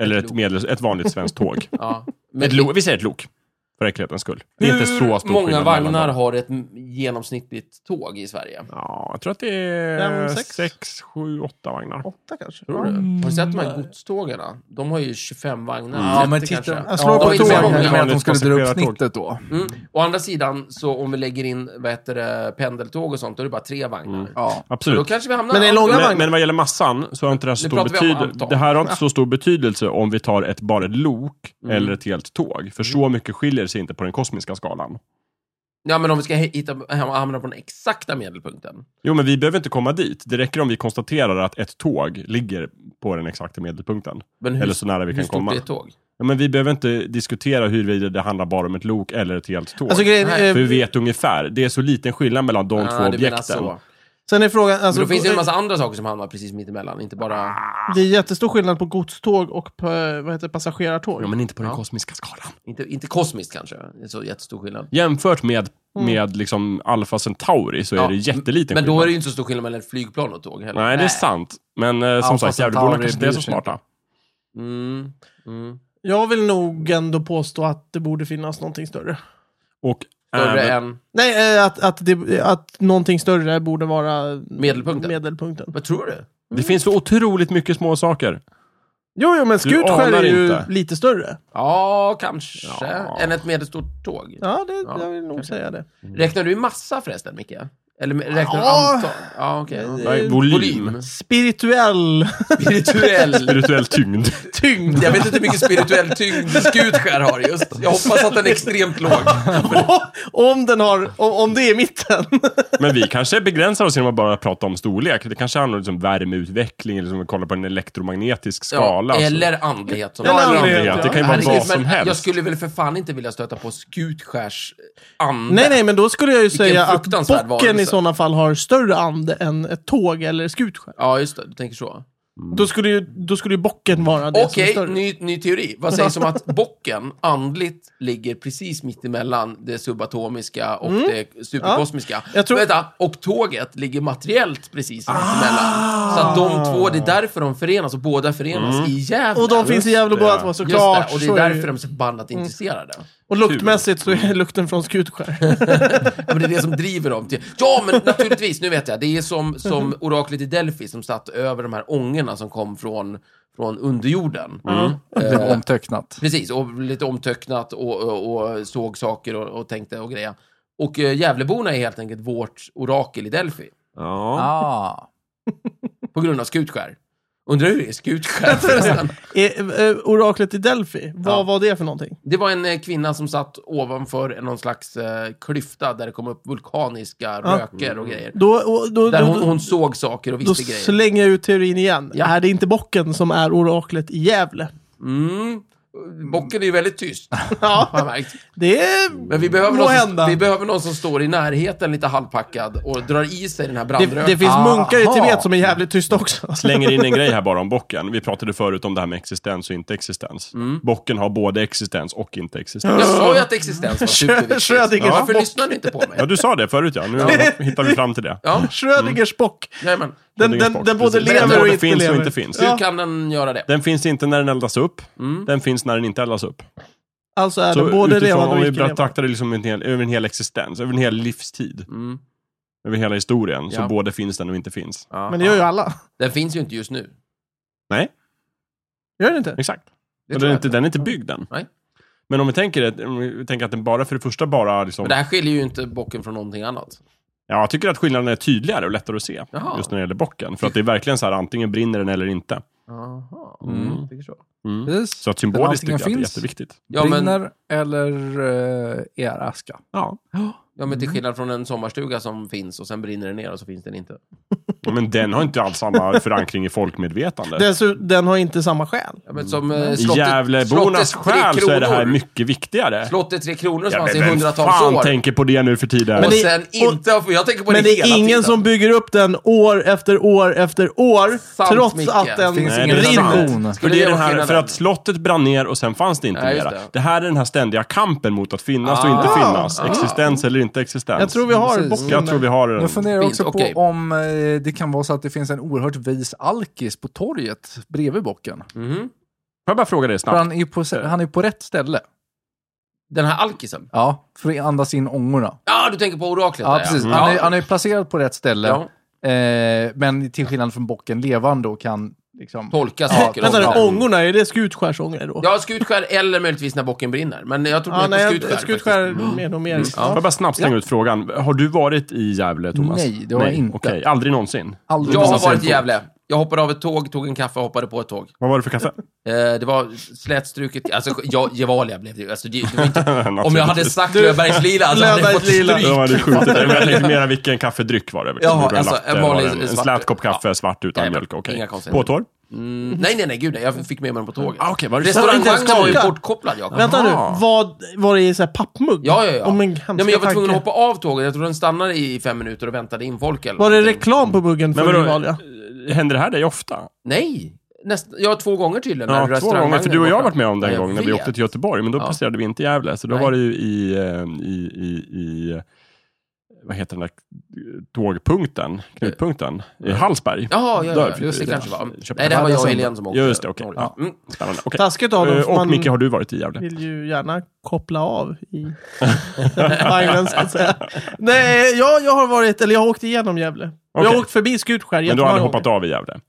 C: Eller
B: Ett
C: ett,
B: lok.
C: medels, ett vanligt svenskt tåg.
B: Ja. Men
C: Ett lo, vi säger ett lok. För enkelhetens skull. Det är inte så stor
B: många
C: skillnad mellan
B: vagnar
C: dem.
B: har ett m- genomsnittligt tåg i Sverige?
C: Ja, jag tror att det är
A: Fem, sex?
C: sex, sju, åtta vagnar.
A: Åtta kanske?
B: Tror du? Har du sett de här godstågen? då? De har ju 25 vagnar.
D: Ja,
B: 30
D: men titta.
B: kanske.
A: Jag slår
D: ja,
A: på
D: det
B: tåg.
D: är meningen med att de
C: Vanligt
D: skulle dra upp
C: passagerartåg.
D: snittet då.
B: Mm. Å andra sidan, så om vi lägger in vad heter det, pendeltåg och sånt, då är det bara tre vagnar.
D: Ja.
B: Då
C: Absolut.
B: kanske vi hamnar...
A: Men det är långa
C: Men,
A: vagnar.
C: men vad gäller massan så har inte det, här så stor
B: pratar vi om
C: betyd-
B: antal.
C: det här har inte så stor betydelse om vi tar ett, bara ett lok
B: Mm.
C: eller ett helt tåg. För så mycket skiljer sig inte på den kosmiska skalan.
B: Ja, men om vi ska he- hitta, hamna på den exakta medelpunkten.
C: Jo, men vi behöver inte komma dit. Det räcker om vi konstaterar att ett tåg ligger på den exakta medelpunkten.
B: Men hur,
C: eller så nära vi
B: hur
C: kan
B: stort
C: komma.
B: är ett tåg?
C: Ja, men vi behöver inte diskutera huruvida det handlar bara om ett lok eller ett helt tåg.
A: Alltså, grejen,
B: Nej,
A: eh,
C: för vi vet ungefär. Det är så liten skillnad mellan de två
B: Ah, du menar
C: objekten.
B: så.
A: sen är frågan,
B: Men
A: alltså,
B: då finns det ju en
A: eh,
B: massa andra saker som hamnar precis mittemellan, inte bara...
A: det är jättestor skillnad på godståg och på, eh, vad heter det, passagerartåg.
C: Ja, men inte på den
B: Ja.
C: kosmiska skalan.
B: Inte, inte kosmiskt kanske, det är så jättestor skillnad.
C: Jämfört med, med liksom Alpha Centauri så är
B: Mm. Ja,
C: det jätteliten
B: Men
C: skillnad.
B: då Äh. är det ju inte så stor skillnad mellan ett flygplan och ett tåg heller.
C: Nej, det är sant. Men eh, som
D: Alpha
C: sagt, Gävleborna
D: Centauri
C: kanske inte är
D: bryr
C: så
D: sig inte.
C: smarta.
B: Mm, mm.
A: Jag vill nog ändå påstå att det borde finnas någonting större.
C: Och
B: Större
C: även,
B: än...
A: Nej, eh, att, att, det, att någonting större borde vara
B: Medelpunkten.
A: medelpunkten.
B: Vad tror du?
C: det finns så otroligt mycket små saker.
A: Jo, jo, men Skutskär
C: anar
A: är ju
C: inte.
A: lite större.
B: Ja, kanske.
C: Ja.
B: Än ett medelstort tåg.
A: Ja, det,
B: Ja,
A: jag vill nog säga det.
B: Räknar du i massa förresten, Micke? Eller räknar
A: Ja.
B: du antal? Ja, okej.
A: Ja.
C: Nej,
A: Eh,
C: volym.
B: Volym.
A: Spirituell
B: Spirituell.
C: Spirituell tyngd.
A: tyngd.
B: Jag vet inte hur mycket spirituell tyngd Skutskär har just. Jag hoppas att den är extremt låg.
A: om, den har, om, om det är mitten.
C: Men vi kanske begränsar oss genom att bara prata om storlek. Det kanske handlar om liksom värmeutveckling, eller som vi kollar på en elektromagnetisk skala.
B: Ja,
C: Så-
B: eller andlighet. Som
A: Eller
C: Ja,
A: andlighet,
C: andlighet. Det
A: ja.
C: kan ju vara
B: Herregud,
C: vad som
B: men
C: helst.
B: Jag skulle väl för fan inte vilja stöta på Skutskärs ande.
A: nej, nej, men då skulle jag ju säga att
B: fruktansvärd
A: bocken
B: varelse.
A: i sådana fall har större ande än ett tåg eller Skutskär.
B: Ja, just det. Du tänker så.
A: Då, skulle ju, då skulle ju bocken vara det som är
B: Okej,
A: större.
B: ny, ny teori. Vad sägs om att bocken andligt ligger precis mittemellan det subatomiska och det superkosmiska?
A: Mm. Jag tror- Ah.
B: Vänta, och tåget ligger materiellt precis mittemellan. Så att de två, det är därför de förenas och båda förenas i djävulen.
A: Mm. Och de finns i Gävleborg att vara
B: Just
A: såklart.
B: det, och det
A: så
B: är
A: är det
B: därför
A: ju. Mm.
B: de är så förbannat intresserade.
A: och luktmässigt så är lukten från Skutskär.
B: Ja, men det är det som driver dem till... Ja, men naturligtvis, nu vet jag. Det är
A: Mm.
B: som, som oraklet i Delphi som satt över de här ångorna som kom från, från underjorden.
A: Mm.
D: Det blev omtecknat.
B: Precis, och lite omtöcknat och, och, och såg saker och, och tänkte och grejer. Och eh, Gävleborna är helt enkelt vårt orakel i Delphi.
C: Ja.
D: Ah.
B: På grund av Skutskär. Undrar hur det är Skutskär förresten?
A: Eh, eh, Oraklet i Delphi, vad
B: Ja.
A: var det för någonting?
B: Det var en eh, kvinna som satt ovanför en- någon slags eh, klyfta där det kom upp vulkaniska
A: Ja.
B: röker och grejer.
A: Då, och, då,
B: Där
A: då,
B: hon, hon såg saker och
A: då
B: visste grejer.
A: slänger jag ut teorin igen.
B: Ja.
A: Är det inte bocken som är oraklet i Gävle?
B: Mm. Bocken är ju väldigt tyst,
A: Ja,
B: har jag märkt.
A: det är...
B: Men vi behöver,
A: Må
B: någon
A: hända.
B: som, vi behöver någon som står i närheten lite halvpackad och drar i sig den här
A: Det,
B: brandröken.
A: det finns
D: Aha.
A: munkar i Tibet som är jävligt tysta också.
C: Slänger in en grej här bara om bocken. Vi pratade förut om det här med existens och inte existens.
B: Mm.
C: Bocken har både existens och inte existens.
B: Jag sa ju att existens var superviktigt.
A: Schrödingers
B: Varför
A: bock.
B: lyssnar ni inte på
C: Ja,
B: mig?
C: du sa det förut ja. Nu hittar vi fram till det.
B: Ja,
A: Schrödingers bock.
B: nej men.
A: Den,
C: Mm.
A: den,
C: Schrödingers bock,
A: den både
C: precis.
B: Men
A: lever
B: den
A: och
B: både
A: inte
C: finns och
A: lever.
C: inte finns.
B: Hur
A: Ja,
B: kan den göra det? Mm,
C: Den finns inte när den eldas upp. Den finns när den inte eldas upp.
A: alltså är
C: Så
A: den både
C: utifrån,
A: levande
C: om
A: och
C: vi
A: icke levande.
C: betraktar det liksom en hel, över en hel existens, över en hel livstid,
B: Mm.
C: över hela historien, så
B: Ja.
C: både finns den och inte finns.
B: Ja.
A: Men det gör ju alla.
B: Den finns ju inte just nu.
C: Nej,
A: Gör det inte?
C: exakt.
B: Det tror
C: Och den, är
B: jag
C: inte, den är inte byggd än.
B: Nej.
C: Men om vi tänker, att- om vi tänker att den bara, för det första bara liksom,
B: Men det här skiljer ju inte bocken från någonting annat.
C: Ja, jag tycker att skillnaden är tydligare och lättare att se.
B: Jaha.
C: Just när det gäller bocken. För att det är verkligen så här, antingen brinner den eller inte.
B: Jaha.
C: Mm.
B: tycker så.
D: Precis.
C: Så att symboliskt tycker
D: antingen
C: jag att det är
D: finns.
C: jätteviktigt.
B: Ja, men,
D: Brinner eller eh, är aska.
C: Ja.
B: ja, men till skillnad från en sommarstuga som finns och sen brinner den ner och så finns den inte.
C: Men den har inte alls samma förankring i folkmedvetandet.
A: Dessutom, den har inte samma själ.
B: Ja, men som eh,
C: I
B: slottet,
C: Gävlebornas
B: slottet Tre
C: själ så är det här
B: Kronor.
C: mycket viktigare.
B: Slottet Tre Kronor som
C: Ja,
B: fanns i
C: men vem
B: hundratals
C: fan
B: år.
C: tänker på det nu för tiden?
B: Och
A: Men det-
B: sen inte har fått- Jag tänker på
A: Men
B: det
A: det
B: hela
A: är ingen
B: tiden.
A: som bygger upp den år efter år efter år.
B: Sant,
A: trots
B: Micke.
A: att den
D: Finns
C: Nej,
D: ingen
C: det är sant.
D: relation.
C: För,
B: Skulle
C: det är
B: det
C: den
B: vara
C: här, för
B: skillnaden?
C: att slottet brann ner och sen fanns det inte
B: Ja, just
C: mera. Det.
B: det.
C: här är den här ständiga kampen mot att finnas och inte
A: Ah.
C: finnas. Existens eller inte existens.
A: Jag tror vi har
D: Precis.
A: bocken
C: Jag tror vi har den.
D: Jag Mm, funderar
B: Fint,
D: också på
B: okej.
D: om eh, det kan vara så att det finns en oerhört vis alkis på torget bredvid bocken.
B: Mhm.
C: Får jag bara fråga dig
D: För
C: snabbt?
D: han är ju på, han är ju på rätt ställe.
B: Den här alkisen?
D: Ja, för att andas in ångorna.
B: Ja, du tänker på oraklet?
D: Ja,
B: där,
D: precis.
B: Ja.
D: Han är,
B: Ja.
D: han är placerad på rätt ställe.
B: Ja.
D: Eh, men till skillnad från bocken levande och kan liksom...
B: Tolka
D: Ja,
B: saker. och
A: Vänta nu,
B: sådär.
A: ångorna, är det skutskärsångor då?
B: Ja, skutskär eller möjligtvis när bocken brinner. Men jag tror
A: Ja,
B: mer på
A: nej,
B: skutskär.
A: skutskär
B: faktiskt. Mm.
A: är nog mer.
C: Får
A: Ja.
C: jag bara snabbt slänga ut frågan. Har du varit i Gävle, Thomas?
D: Nej, det har jag inte.
C: Okej, aldrig någonsin.
D: Aldrig
B: Jag har
D: någonsin
B: varit i
C: Mm.
D: fått-
B: Gävle. Jag hoppade av ett tåg, tog en kaffe och hoppade på ett tåg.
C: Vad var det för kaffe?
B: Eh, det var slätstruket. Alltså, jag, Gevalia blev det ju. Alltså, det, det var inte, om jag hade sagt
A: Du-
B: Löfbergslila, alltså, hade jag fått
A: Löfbergslila.
B: stryk.
C: De hade skjutit dig. Men jag tänkte mera vilken kaffedryck var det? Vilken
B: Jaha,
C: röd
B: alltså,
C: latte
B: en
C: var
B: vanlig
C: det? en,
B: svart-
C: slät kopp kaffe, svart utan
B: Jajamän,
C: mälk. Okej.
B: inga konstigheter.
C: Påtår?
B: Mm, nej, nej, nej, gud nej. Jag fick med mig den på tåget.
C: Ah, okej, var det
A: Inte ens
B: Restaurangvagnen var ju
A: skaka.
B: bortkopplad, Jakob.
A: Vänta nu,
C: Aha.
A: vad var det i så här pappmugg?
B: Ah. Ja, ja, ja.
A: Om en
B: Nej, men jag var tvungen att
A: tanke.
B: hoppa av tåget. Jag tror den stannade i fem minuter och väntade in folk. Eller
A: Var det
B: någonting.
A: reklam på muggen
C: Men
A: för
C: vadå, Eh,
A: Rivalia?
C: händer det här dig ofta?
B: Nej! Näst, ja, två gånger tydligen. när
C: Ja, två
B: restaurangvagnen
C: gånger. För du och jag
B: borta.
C: har varit med om
B: Ja,
C: den
B: jag
C: gången när vi
B: vet.
C: åkte till Göteborg. Men då
B: Ja.
C: passerade vi inte Gävle. Så då
B: Nej.
C: var det ju i, eh, i, i, i... eh, Vad heter den där eh, tågpunkten? Knutpunkten? I Hallsberg.
B: Jaha, ja, ja,
C: Där,
B: ja.
C: just
B: det
C: det.
B: kanske var.
C: Köpenhamn.
B: Nej, det här var jag och
D: Just
B: Helene som åkte.
C: Just det, okej.
B: norrut.
D: Ja.
B: Mm.
C: Spännande. Okej.
A: Taskigt av dem,
C: Eh,
A: för
C: Och
A: man
C: Micke, har du varit i Gävle?
A: vill ju gärna koppla av i vagnen, så att säga. Nej, jag, jag har varit, eller jag har åkt igenom Gävle. Och Jag har
C: Okej.
A: åkt förbi Skutskär
C: Men du
A: jättemånga
C: har
A: gånger.
C: aldrig hoppat av i Gävle?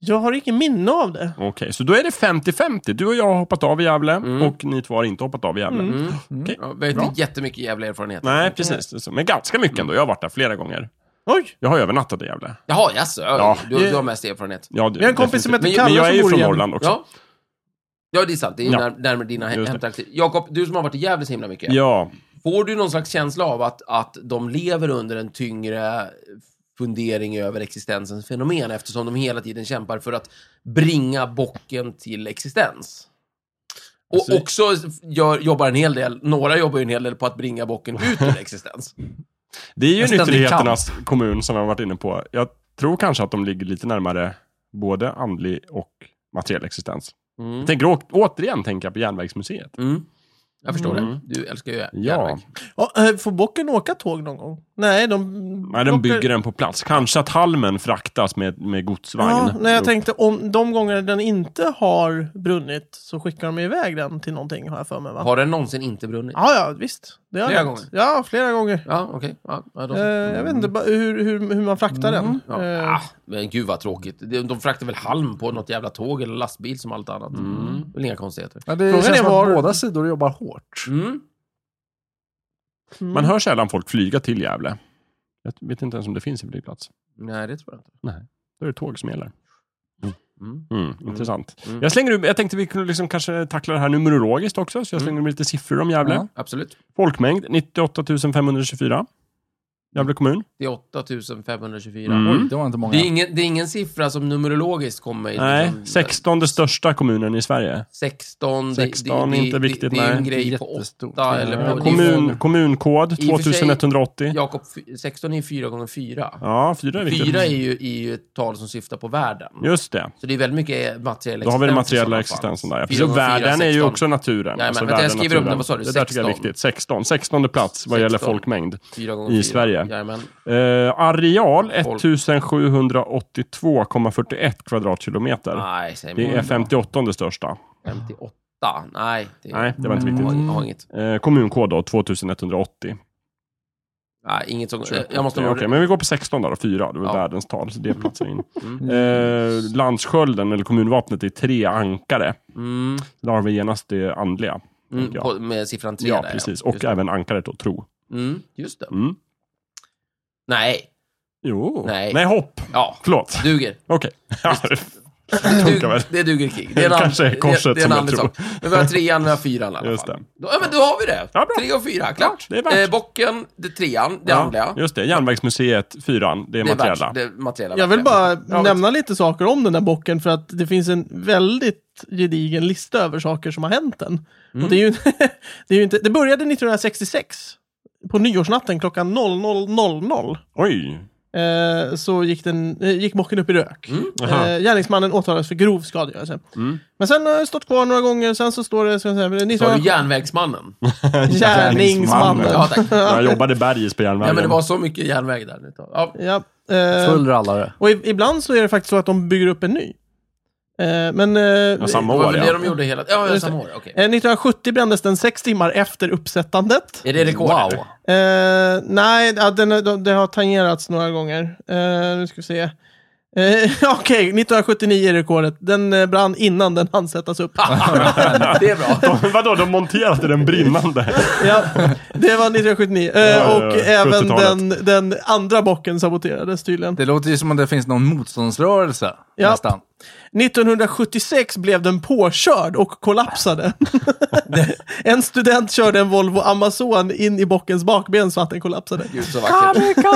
A: Jag har ingen minne av det.
C: Okej, så då är det 50-50. Du och jag har hoppat av i Gävle
B: Mm.
C: och ni två har inte hoppat av i Gävle.
A: Mm.
B: Mm.
C: Okej.
B: Ja, vi har inte jättemycket jävla erfarenhet.
C: Nej, precis. Det är så. Men ganska mycket ändå. Jag har varit där flera gånger.
A: Oj!
C: Jag har övernattat i Gävle.
B: Jaha, jaså?
C: Ja.
B: Du, du har mest erfarenhet.
C: Ja, det-
A: Vi har en kompis som
C: definitivt.
A: heter
C: Men
A: Kalle
C: jag är
A: som
C: ju
A: bor i
C: från
A: Gävle.
C: Norrland också.
B: Ja. ja, det är sant. Det är ju
C: Ja.
B: när- närmare dina he-
C: Just det.
B: hemtrakter. Jakob, du som har varit i Gävle så himla mycket.
C: Ja.
B: Får du någon slags känsla av att, att de lever under en tyngre fundering över existensens fenomen eftersom de hela tiden kämpar för att bringa bocken till existens? Och
C: Alltså-
B: också gör, jobbar en hel del, några jobbar ju en hel del på att bringa bocken ut ur existens.
C: Det är ju
D: En ständig
C: nyttigheternas kommun som jag har varit inne på. Jag tror kanske att de ligger lite närmare både andlig och materiell existens.
B: Mm.
C: Jag tänker å- återigen tänka på Järnvägsmuseet.
B: Mm. Jag förstår
C: Mm.
B: det. Du älskar ju
C: Ja,
B: järnväg.
A: Ja, eh, får bocken åka tåg någon gång? Nej, de...
C: Nej, de
A: bocken-
C: bygger den på plats. Kanske att halmen fraktas med, med godsvagn.
A: Ja, nej, jag
C: upp.
A: tänkte om de gånger den inte har brunnit så skickar de iväg den till någonting har jag för mig va?
B: Har den någonsin inte brunnit?
A: Ja, ja, visst. Det har
B: Flera
A: hänt.
B: gånger?
A: Ja, flera gånger.
B: Ja, okej. Ja, ja, då
A: Eh,
B: så.
A: Jag vet inte bara hur, hur, hur man fraktar den.
B: Ja.
A: Eh,
B: Ah, men gud vad tråkigt. De de fraktar väl halm på något jävla tåg eller lastbil som allt annat. Mm. Väl inga konstigheter.
D: Ja, det
A: Frågan
D: känns
A: är
D: som
A: var-
D: att båda sidor jobbar hårt.
B: Mm.
A: mm.
C: Man hör sällan folk flyga till Gävle. Jag vet inte ens om det finns en flygplats.
B: Nej, det tror jag inte.
C: Då är det tåg som gäller.
B: Mm.
C: Mm, Intressant.
B: Mm.
C: Jag, slänger, ur- jag tänkte vi kunde liksom kanske tackla det här numerologiskt också, så jag slänger med lite siffror om Gävle.
D: Ja.
B: Absolut.
C: Folkmängd 98 524. Gävle kommun.
B: Det är 8524.
C: Mm.
D: Oj, det var inte många.
B: Det, är ingen, det är ingen siffra som numerologiskt kommer i.
C: Nej,
B: liksom,
C: 16 största kommunen i Sverige.
B: 16.
C: 16,
B: det, det,
C: inte viktigt,
B: Det, det är en
C: nej.
B: grej på
D: Jättestort.
B: 8 eller
D: Ja,
B: på...
C: Kommun, kommunkod
B: I och för sig-
C: 2180.
B: Jakob, fy- 16 är 4 gånger 4.
C: Ja, fyra är viktigt.
B: 4 är ju, är ju ett tal som syftar på världen.
C: Just det.
B: Så det är väldigt mycket materiell
C: Då har vi den materiella
B: i sådana fall.
C: existensen där. Ja, precis.
B: Fyra
C: Och
B: gånger fyra,
C: världen är ju
B: 16.
C: också naturen. Alltså,
B: Jajamän, vänta, jag
C: världen,
B: skriver upp den. Vad sa du?
C: Det där tycker jag är
B: 16.
C: viktigt. 16. 16 plats vad gäller
B: 16.
C: folkmängd.
B: Fyra gånger
C: i
B: fyra.
C: Sverige.
B: Jajamän.
C: Eh, areal
B: Folk.
C: 1782,41 kvadratkilometer.
B: Nej, säg
C: Det är
B: mig.
C: 58 största.
B: 58. Nej, det
C: Nej, det var inte viktigt.
B: har,
D: Mm.
B: har inget.
C: Eh, kommunkod då, 2180.
B: Nej, inget som...
C: Okej,
B: Eh, Jag måste...
C: Eh, okej, men vi går på 16 där då, 4. Det var
B: Ja.
C: världens tal, så det platsar in.
B: Mm.
C: Eh, landskölden, eller kommunvapnet, är tre ankare.
B: Mm.
C: Där har vi genast det andliga.
B: Mm.
C: tänker jag.
B: På, med siffran 3
C: Ja,
B: där.
C: precis.
B: ja.
C: Och
B: Just det.
C: även ankaret då, tro.
B: Mm, just det.
C: Mm.
B: Nej.
C: Jo.
B: Nej.
C: Nej, hopp.
B: Ja.
C: Förlåt.
B: Duger.
C: Okej.
B: Dug,
C: väl.
B: det duger krig. Det är en
C: Det
B: annan-
C: kanske är korset
B: det, det är en
C: som jag
B: annan
C: tror.
B: sak. Men vi har trean, vi har fyran i alla
C: Just
B: fall.
C: det.
B: Då, ja, men då har vi det.
C: Ja, bra.
B: Tre och fyra, klart. Eh,
C: det är värt.
B: bocken, det trean, det andliga.
C: Just det. Järnvägsmuseet, fyran. Det är
B: Det är
C: materiella.
B: värt. Det materiella.
A: Jag vill
B: verkligen.
A: bara
B: Ja,
A: nämna lite saker om den där bocken för att det finns en väldigt gedigen lista över saker som har hänt den. Och det, är ju,
B: Mm.
A: det, är ju inte, det började 1966 på nyårsnatten klockan 00.00.
C: Oj.
A: Eh, så gick, den, eh, gick bocken upp i rök.
C: Aha.
A: Eh, gärningsmannen åtalades för grov skadegörelse.
C: Mm.
A: Men sen har det stått kvar några gånger, sen så står det... Ska jag säga,
B: Sa du
A: 19...
B: järnvägsmannen?
A: Gärningsmannen.
B: Ja, tack.
C: Jag jobbade i bergis på
B: Ja,
C: järnvägen.
B: men det var så mycket järnväg där. nu. Ja.
A: Ja, eh,
D: Full rallare.
A: och i, ibland så är det faktiskt så att de bygger upp en ny. Eh, men... eh,
C: Ja, samma
B: Det var
C: år
B: väl
C: ja.
B: det de gjorde hela... Ja, ja
A: Just det.
B: samma år. Okej.
A: eh, 1970 brändes den sex timmar efter uppsättandet.
B: Är det rekord? eller?
D: Wow.
A: Eh, nej, ja, den, de- det har tangerats några gånger. Eh, nu ska vi se. Eh, Okej, 1979 är rekordet. Den eh, brann innan den hann sättas upp.
B: Det är bra.
C: De, vadå, de monterade den brinnande?
A: ja, det var 1979. Eh,
C: ja,
A: och
C: ja,
A: även
C: 70-talet.
A: den, den andra bocken saboterades tydligen.
D: Det låter ju som att det finns någon motståndsrörelse.
A: Ja.
D: Nästan.
A: 1976 blev den påkörd och kollapsade. en student körde en Volvo Amazon in i bockens bakben så att den kollapsade.
B: Gud så vackert.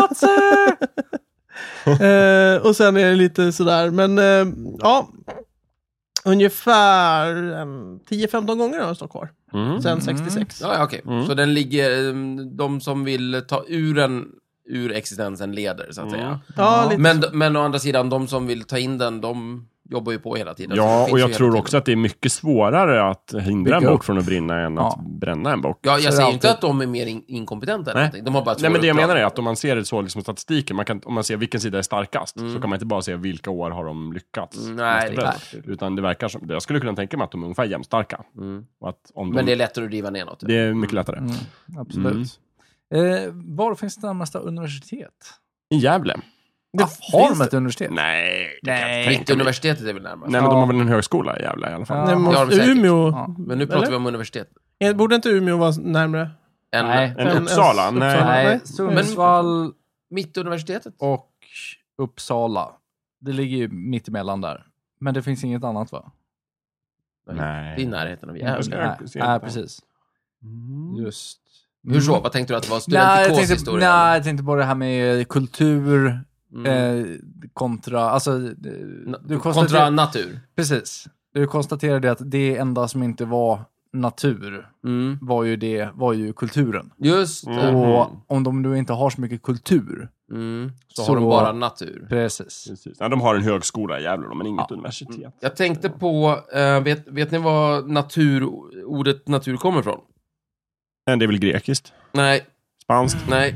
A: Eh, och sen är det lite sådär, men eh, ja. Ungefär en 10-15 gånger har den stått kvar.
B: Mm.
A: Sen 66.
B: Ja, ja, okej.
C: Mm.
B: Så den ligger... ehm, De som vill ta ur den ur existensen leder, så att
C: Mm.
B: säga.
A: Ja, lite.
B: Men, men å andra sidan, de som vill ta in den, de jobbar ju på hela tiden. Så det
C: Ja,
B: finns
C: och
B: ju
C: jag
B: hela
C: tror
B: tiden.
C: också att det är mycket svårare att hindra en
D: Bygga
C: bock
D: upp.
C: från att brinna än att
D: Ja.
C: bränna en bock.
B: Ja, jag
D: det
B: säger ju
D: alltid-
B: inte att de är mer in inkompetenta eller
C: Nej.
B: någonting. De har bara ett
C: Nej, men det jag
B: svårare
C: menar
B: uppdrag.
C: är att om man ser det så liksom statistiken, man kan, om man ser vilken sida är starkast, så kan man inte bara se vilka år har de lyckats.
B: Mm. Nej,
C: mest
B: det är
C: väl.
B: klart. Mm.
C: Utan det verkar som, jag skulle kunna tänka mig att de är ungefär jämnstarka. Och att om de,
B: Men det
C: det,
B: är lättare att driva ner något.
C: är mycket lättare.
B: Mm,
D: Absolut. Mm. Eh, var finns det närmaste universitet?
C: I Gävle?
A: Det
D: ah, har
A: finns
D: de ett universitet?
C: Nej, det kan jag inte
D: Nej.
C: tänka mig.
B: Universitetet är väl närmast.
C: Nej, men de
D: Ja.
C: har väl en högskola i Gävle i alla fall.
D: Ja.
A: Nej, men
B: det har de säkert.
A: Umeå.
D: Ja.
B: Men nu pratar
A: Eller?
B: vi om universitet.
A: Eh, Borde inte Umeå vara närmre?
B: En,
D: Nej.
C: En
A: Än
C: Uppsala?
A: Ös-
C: Nej.
A: Uppsala.
D: Nej,
A: Nej.
D: Sundsvall
B: Mittuniversitetet?
D: och Uppsala. Det ligger ju mitt emellan där. Men det finns inget annat va?
B: Det är i närheten av
C: Jag
B: Gävle.
C: ska- Mm.
D: nej,
C: jag ser
D: nej,
C: inte.
D: precis. Just. Mm.
B: Hur så? Vad tänkte du att det var?
D: Nej jag, tänkte,
B: Studentikos
D: nej, jag tänkte på det här med kultur
B: Mm.
D: eh, kontra... Alltså, eh, du
B: Kontra
D: konstaterar-
B: natur.
D: Precis. Du konstaterade att det enda som inte var natur
B: Mm.
D: var ju, det, var ju kulturen.
B: Just det.
C: Mm.
D: Och om de nu inte har så mycket kultur,
B: Mm. Så,
D: Så-
B: har de bara natur.
D: precis.
C: Precis. Ja, de har en högskola i Gävle, då, men inget universitet.
B: Jag tänkte på, eh, vet, vet ni var natur, ordet natur kommer ifrån?
C: Men det är väl grekiskt?
B: Nej,
C: Spanskt?
B: nej,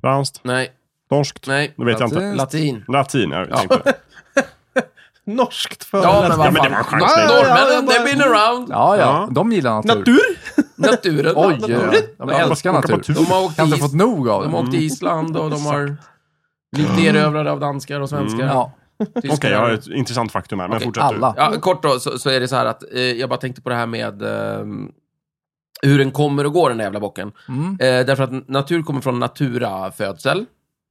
C: Franskt?
B: nej,
C: Norskt?
B: nej.
C: Det vet jag inte.
D: Latin.
B: Latin.
C: Latin, jag tänkte.
A: Norskt för
B: Ja, men
C: Ja,
B: vad
C: men det
B: fan.
C: var en
A: Ja, ja,
C: chansning.
B: Ah, Norrmännen,
A: ja, ja.
B: they've been around.
D: Ja, ja.
C: Ja.
D: De gillar natur.
A: Natur?
B: Naturen.
D: Oj,
B: de,
D: ja. de
B: Ja,
D: älskar
C: åka på
D: natur.
C: tur.
B: de har åkt
D: Kan
B: till
D: inte fått Mm. nog av
B: De
D: det.
B: har åkt till Island och de har blivit erövrade av danskar och svenskar.
D: Mm. Ja.
B: Tyskar.
C: Okej, jag har ett intressant faktum här, men
B: Okej,
C: fortsätt
D: alla.
B: Ja, kort då, så, så är det så här att eh, jag bara tänkte på det här med eh, hur den kommer och går, den där jävla bocken.
D: Mm.
B: Eh, därför att natur kommer från natura födsel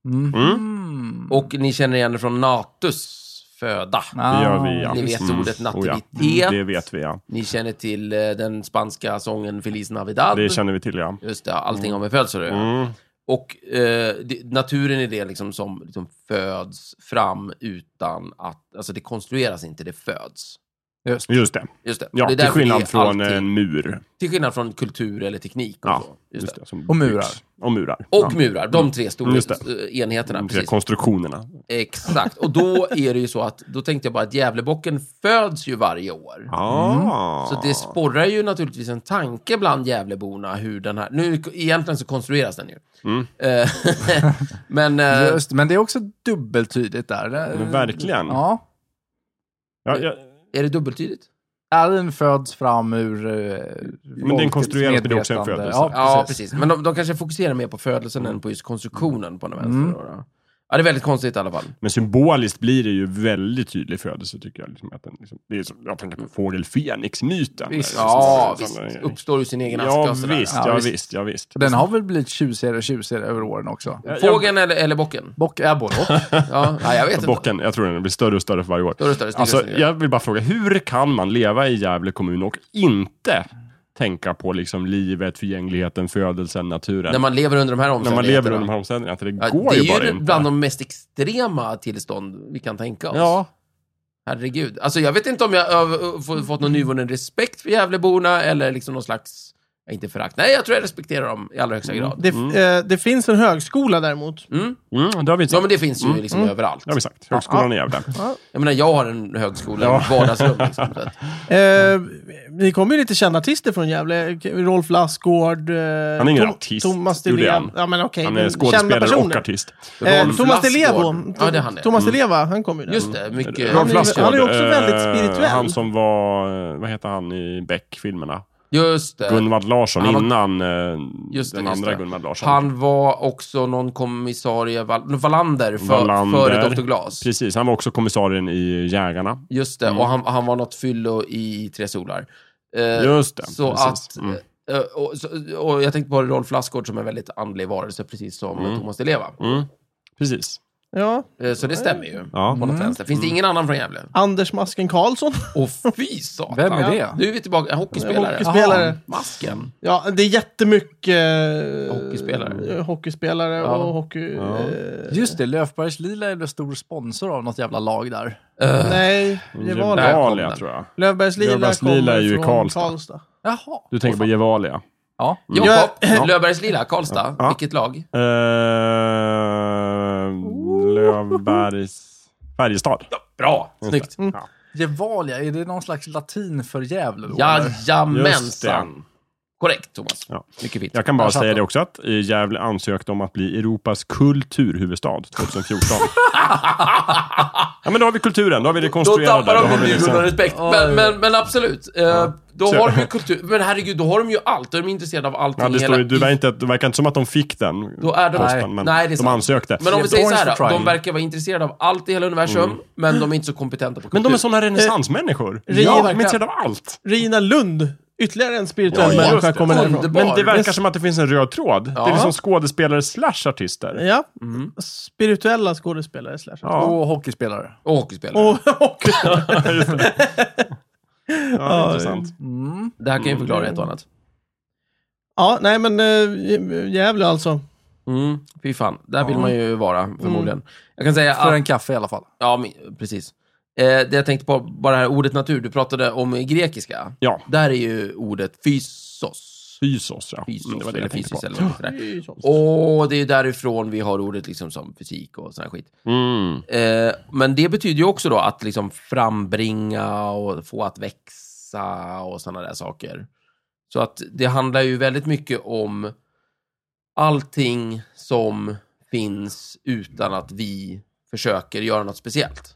D: Mm.
C: Mm.
B: och ni känner igen det från natus föda.
C: du.
D: Ah.
C: Det gör vi, ja.
B: Ni vet
C: Mm.
B: ordet
C: Oh, ja.
B: nativitet.
C: Det vet vi, ja.
B: Ni känner till eh, den spanska sången Feliz Navidad.
C: Det känner vi till, ja.
B: Just det, allting har med födsel att göra.
C: Mm.
B: Och eh, det, naturen är det liksom som liksom föds fram utan att, alltså det konstrueras inte, det föds.
D: Just.
C: Just det.
B: Just det.
C: Ja,
B: det är
C: till
B: därför det
C: skillnad
B: är
C: från
B: allting-
C: en mur.
B: till skillnad från kultur eller teknik och
C: Ja,
B: så. Just
C: Just
B: det.
C: det, som
D: Och murar.
C: byggs. Och murar.
B: Och
C: ja. Mm,
B: murar, de tre stora
C: Just
B: eh, enheterna.
C: De tre
B: Precis. Mm.
C: konstruktionerna.
B: Exakt. Och då är det ju så att, då tänkte jag bara att Gävlebocken föds ju varje år.
C: Ah.
B: Så det sporrar ju naturligtvis en tanke bland Gävleborna hur den här... Nu, egentligen så konstrueras den ju.
C: Mm.
B: Eh, men... eh,
D: Just. Men det är också dubbeltydigt där. Det-
C: Men verkligen.
D: Ja.
C: Ja, ja,
B: Är det dubbeltydigt?
D: Ja, den föds fram ur... eh,
C: Men den konstrueras, men det är också en
D: medvetande.
C: födelse.
D: Ja, precis.
B: Ja, precis. Men de, de kanske fokuserar mer på födelsen än på just konstruktionen på den vänster.
D: Mm.
B: då, då. Ja, det är väldigt konstigt i alla fall.
C: Men symboliskt blir det ju väldigt tydlig födelse tycker jag. Liksom att den, liksom, det är som, jag tänker på fågelfenix-myten.
D: Visst.
C: Där, liksom,
B: Ja,
C: sån-
B: visst.
C: sån-
B: Uppstår ur sin egen aska
C: Ja,
B: och sådär.
C: visst,
D: Ja,
C: ja,
D: visst.
C: visst, ja, visst.
D: Den har väl blivit tjusigare och tjusigare över åren också.
C: Jag- jag-
B: Fågeln eller, eller bocken?
D: Bock, ja, både och.
B: Ja, nej, jag vet inte.
C: Bocken, jag tror den blir större och större för varje år.
B: Större, större, större,
C: Alltså,
B: större.
C: jag vill bara fråga, hur kan man leva i Gävle kommun och inte tänka på liksom livet, förgängligheten, födelsen, naturen?
B: När man lever under de här
C: När man
B: omständigheterna.
C: lever under de här omständigheterna, det
B: Ja,
C: går
B: det
C: ju
B: är
C: bara
B: ju
C: inte.
B: bland de mest extrema tillstånd vi kan tänka oss.
C: Ja,
B: eh, Herregud. Alltså jag vet inte om jag har fått någon nyvunnen respekt för Gävleborna eller liksom någon slags Ja, Inte förakt. Nej, jag tror jag respekterar dem i allra högsta grad.
A: Det, f- eh, det finns en högskola däremot.
B: Mm.
C: Mm, det har vi
B: Ja, men
C: sagt.
B: det finns ju liksom överallt.
C: Det har vi sagt. Högskolan i Gävle.
B: Jag menar, jag har en högskola, ja. vardagsrum liksom. Så att,
A: Eh, ni kommer ju lite kända artister från Gävle. Rolf Lassgård. Eh,
C: Han är ingen
A: Tom-
C: artist,
A: Thomas Di
C: gjorde
A: Leva.
C: han.
A: Ja, men okej.
C: Han
A: men
C: är skådespelare
A: personer.
C: och artist.
A: Eh,
B: Rolf
A: Thomas Di Levo.
B: Lassgård. Ja, det är han
C: Mm.
B: det.
A: Thomas Di Leva, han kommer ju där.
B: Just det, mycket.
A: Rolf
C: Rolf
A: Lassgård.
C: Lassgård.
A: Han är också
C: eh,
A: väldigt spirituell.
C: Han som var, eh, vad heter han i Beck-filmerna?
B: Just det.
C: Gunvald Larsson
B: han var-
C: innan eh,
B: Just det,
C: den
B: just
C: andra
B: det.
C: Gunvald Larsson.
B: Han var också någon kommissarie, Val- Wallander, för,
C: Wallander.
B: före Dr. Glas.
C: Precis, han var också kommissarien i Jägarna.
B: Just det, och han, han var något fyllo i Tre Solar. Eh,
C: Just det,
B: Så
C: precis.
B: att,
C: Mm.
B: eh, och, så- och jag tänkte på Rolf Lassgård som en väldigt andlig varelse, precis som Thomas Di Leva.
C: Mm. Precis.
A: Ja.
B: Eh, Så det stämmer ju.
C: Ja.
B: På något vänster. Finns det
C: Mm.
B: ingen annan från Gävle?
A: Anders Masken Karlsson.
B: Åh fy satan.
D: Vem är det?
B: Nu är vi tillbaka. En hockeyspelare.
A: Hockeyspelare.
B: Aha, masken.
A: Ja, det är jättemycket... Eh,
B: Hockeyspelare.
A: eh, Hockeyspelare
B: Ja.
A: och hockey...
C: Ja.
A: Eh,
D: Just det, Löfbergs Lila är väl stor sponsor av något jävla lag där.
B: Eh,
A: nej,
B: Där
A: rivaler.
B: kom
C: Gevalia
B: den.
C: tror jag.
A: Löfbergs Lila
C: Löfbergs
A: kommer
C: Lila är ju i
A: från
C: Karlstad.
D: Jaha.
C: Du tänker på Gevalia.
D: Ja.
C: Mm.
B: Jakob,
A: Jag-
B: Löfbergs Lila, Karlstad.
C: Ja.
B: Vilket lag?
C: Eh, Löfbergs... Färjestad.
B: Bra, snyggt.
C: Ja.
D: Gevalia, är det någon slags latin för Gävle? då, eller?
C: Just det.
B: Jajamensan. Korrekt, Thomas.
C: Ja.
B: Mycket fint.
C: Jag kan bara
D: Där satt
C: säga
D: den.
C: det också att eh, Gävle ansökte om att bli Europas kulturhuvudstad 2014. ja, men då har vi kulturen, då har vi det
B: Då
C: konstruerade.
B: tappar
C: har
B: de
C: vi
B: min
C: liksom-
B: liksom... respekt. Men, men, men absolut. Eh, Då
C: Så-
B: har de ju kultur. Men herregud, då har de ju allt. Då är de intresserade av allting.
C: Ja, det, står
B: hela...
C: ju, du verkar inte, det verkar inte som att de fick den
B: Då är de...
C: posten,
B: Nej,
C: men
B: nej, det är
C: de
B: sant.
C: ansökte.
B: Men om vi
D: Jävla
B: säger så
D: orange
B: här då,
D: trying.
B: de verkar vara intresserade av allt i hela universum,
C: Mm.
B: men de är inte så kompetenta på kultur.
C: Men de är såna renässansmänniskor.
A: Rio
C: ja, de är
A: verkar-
C: intresserade av allt.
A: Rina Lund, ytterligare en spirituell
C: Ja, just
A: människa
C: det.
A: kommer därifrån.
B: Underbar.
C: Men det verkar
A: Yes.
C: som att det finns en röd tråd. Det
B: Ja.
C: är liksom skådespelare slash artister.
A: Ja, spirituella skådespelare. Slash.
C: Mm. Ja,
D: Och hockeyspelare.
B: Och hockeyspelare.
A: Och, och,
C: just det.
A: Ja,
C: Ja, intressant.
D: Mm.
B: Det här kan ju förklara ett och annat.
A: ja, nej men äh, Gävle alltså.
B: Mm, fy fan. Där vill man ju vara, förmodligen. Jag kan säga
D: Mm. För
B: att-
D: en kaffe i alla fall.
B: Ja, men, precis. Eh, det jag tänkte på, bara det här ordet natur. Du pratade om grekiska.
C: Ja,
B: Där är ju ordet fysos.
C: fysos ja.
B: Fysos,
C: Mm, det var det
B: eller
C: jag tänkte
B: fysis
C: på.
B: eller något sådär. Och det är därifrån vi har ordet liksom som fysik och sån här skit.
C: Mm.
B: Eh, men det betyder ju också då att liksom frambringa och få att växa och sådana där saker. Så att det handlar ju väldigt mycket om allting som finns utan att vi försöker göra något speciellt.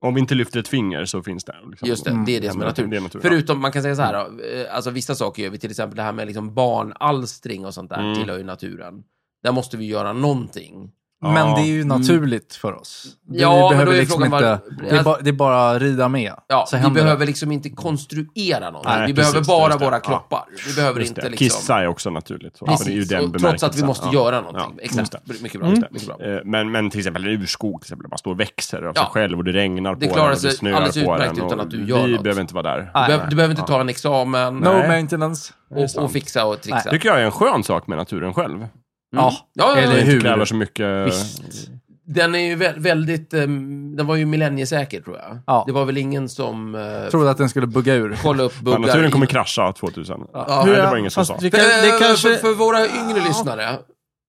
C: Om vi inte lyfter ett finger så finns det. Liksom.
B: Just det, det är det som är natur.
C: Det är natur, ja.
B: Förutom, man kan säga så här, då, eh, alltså vissa saker gör vi, till exempel det här med liksom barnalstring och sånt där
C: Mm.
B: tillhör ju naturen. Där måste vi göra någonting.
C: Ja.
D: Men det är ju naturligt för oss. Vi
B: Mm. Ja, men
D: behöver
B: då är
D: liksom
B: frågan
D: inte...
B: var- Alltså-
D: Det, är bara, det är bara att rida med.
B: Ja,
D: så
B: vi
D: händer
B: behöver liksom inte konstruera någonting.
C: Nej,
B: vi
C: precis,
B: behöver bara
C: just det.
B: våra
C: Ja.
B: kroppar. Vi behöver
C: Just
B: inte
C: det.
B: liksom...
C: Kissa är också naturligt. Så.
B: Precis.
C: Det är ju den
B: och, trots att vi
C: bemärkelsen.
B: måste
C: Ja.
B: göra någonting.
C: Ja,
B: Exakt.
C: just
B: Mycket bra. Mycket bra.
C: Eh, Men, men till exempel en urskog, till exempel, man står och växer av sig
B: Ja.
C: själv och det regnar
B: Det
C: på
B: klarar
C: den och
B: sig
C: det snöar
B: alldeles
C: på
B: utmärkt
C: den. och
B: utan att du gör
C: vi
B: något.
C: behöver inte vara där.
B: Du, behöver, du behöver inte ta en examen
D: det. No
C: Nej.
D: maintenance.
B: och, och fixa och
D: Nej,
B: trixa. Mm.
C: tycker jag är en skön sak med naturen själv.
D: Ja,
B: Ja, ja,
D: eller
B: ja.
C: Det
D: hur?
C: kräver så mycket...
D: Visst.
B: Den är ju vä- väldigt... ehm, den var ju millenniesäker, tror jag.
D: Ja.
B: Det var väl ingen som eh,
D: Trodde att den skulle bugga ur.
B: kollade upp
C: Fan,
B: buggar.
C: naturen kommer
B: i-
C: krascha 2000.
B: Ja.
C: Nej,
A: Hur-
C: det var ingen som
A: fast
C: sa.
A: vi
B: För,
A: kan, det
B: för,
A: kanske,
B: för våra yngre lyssnare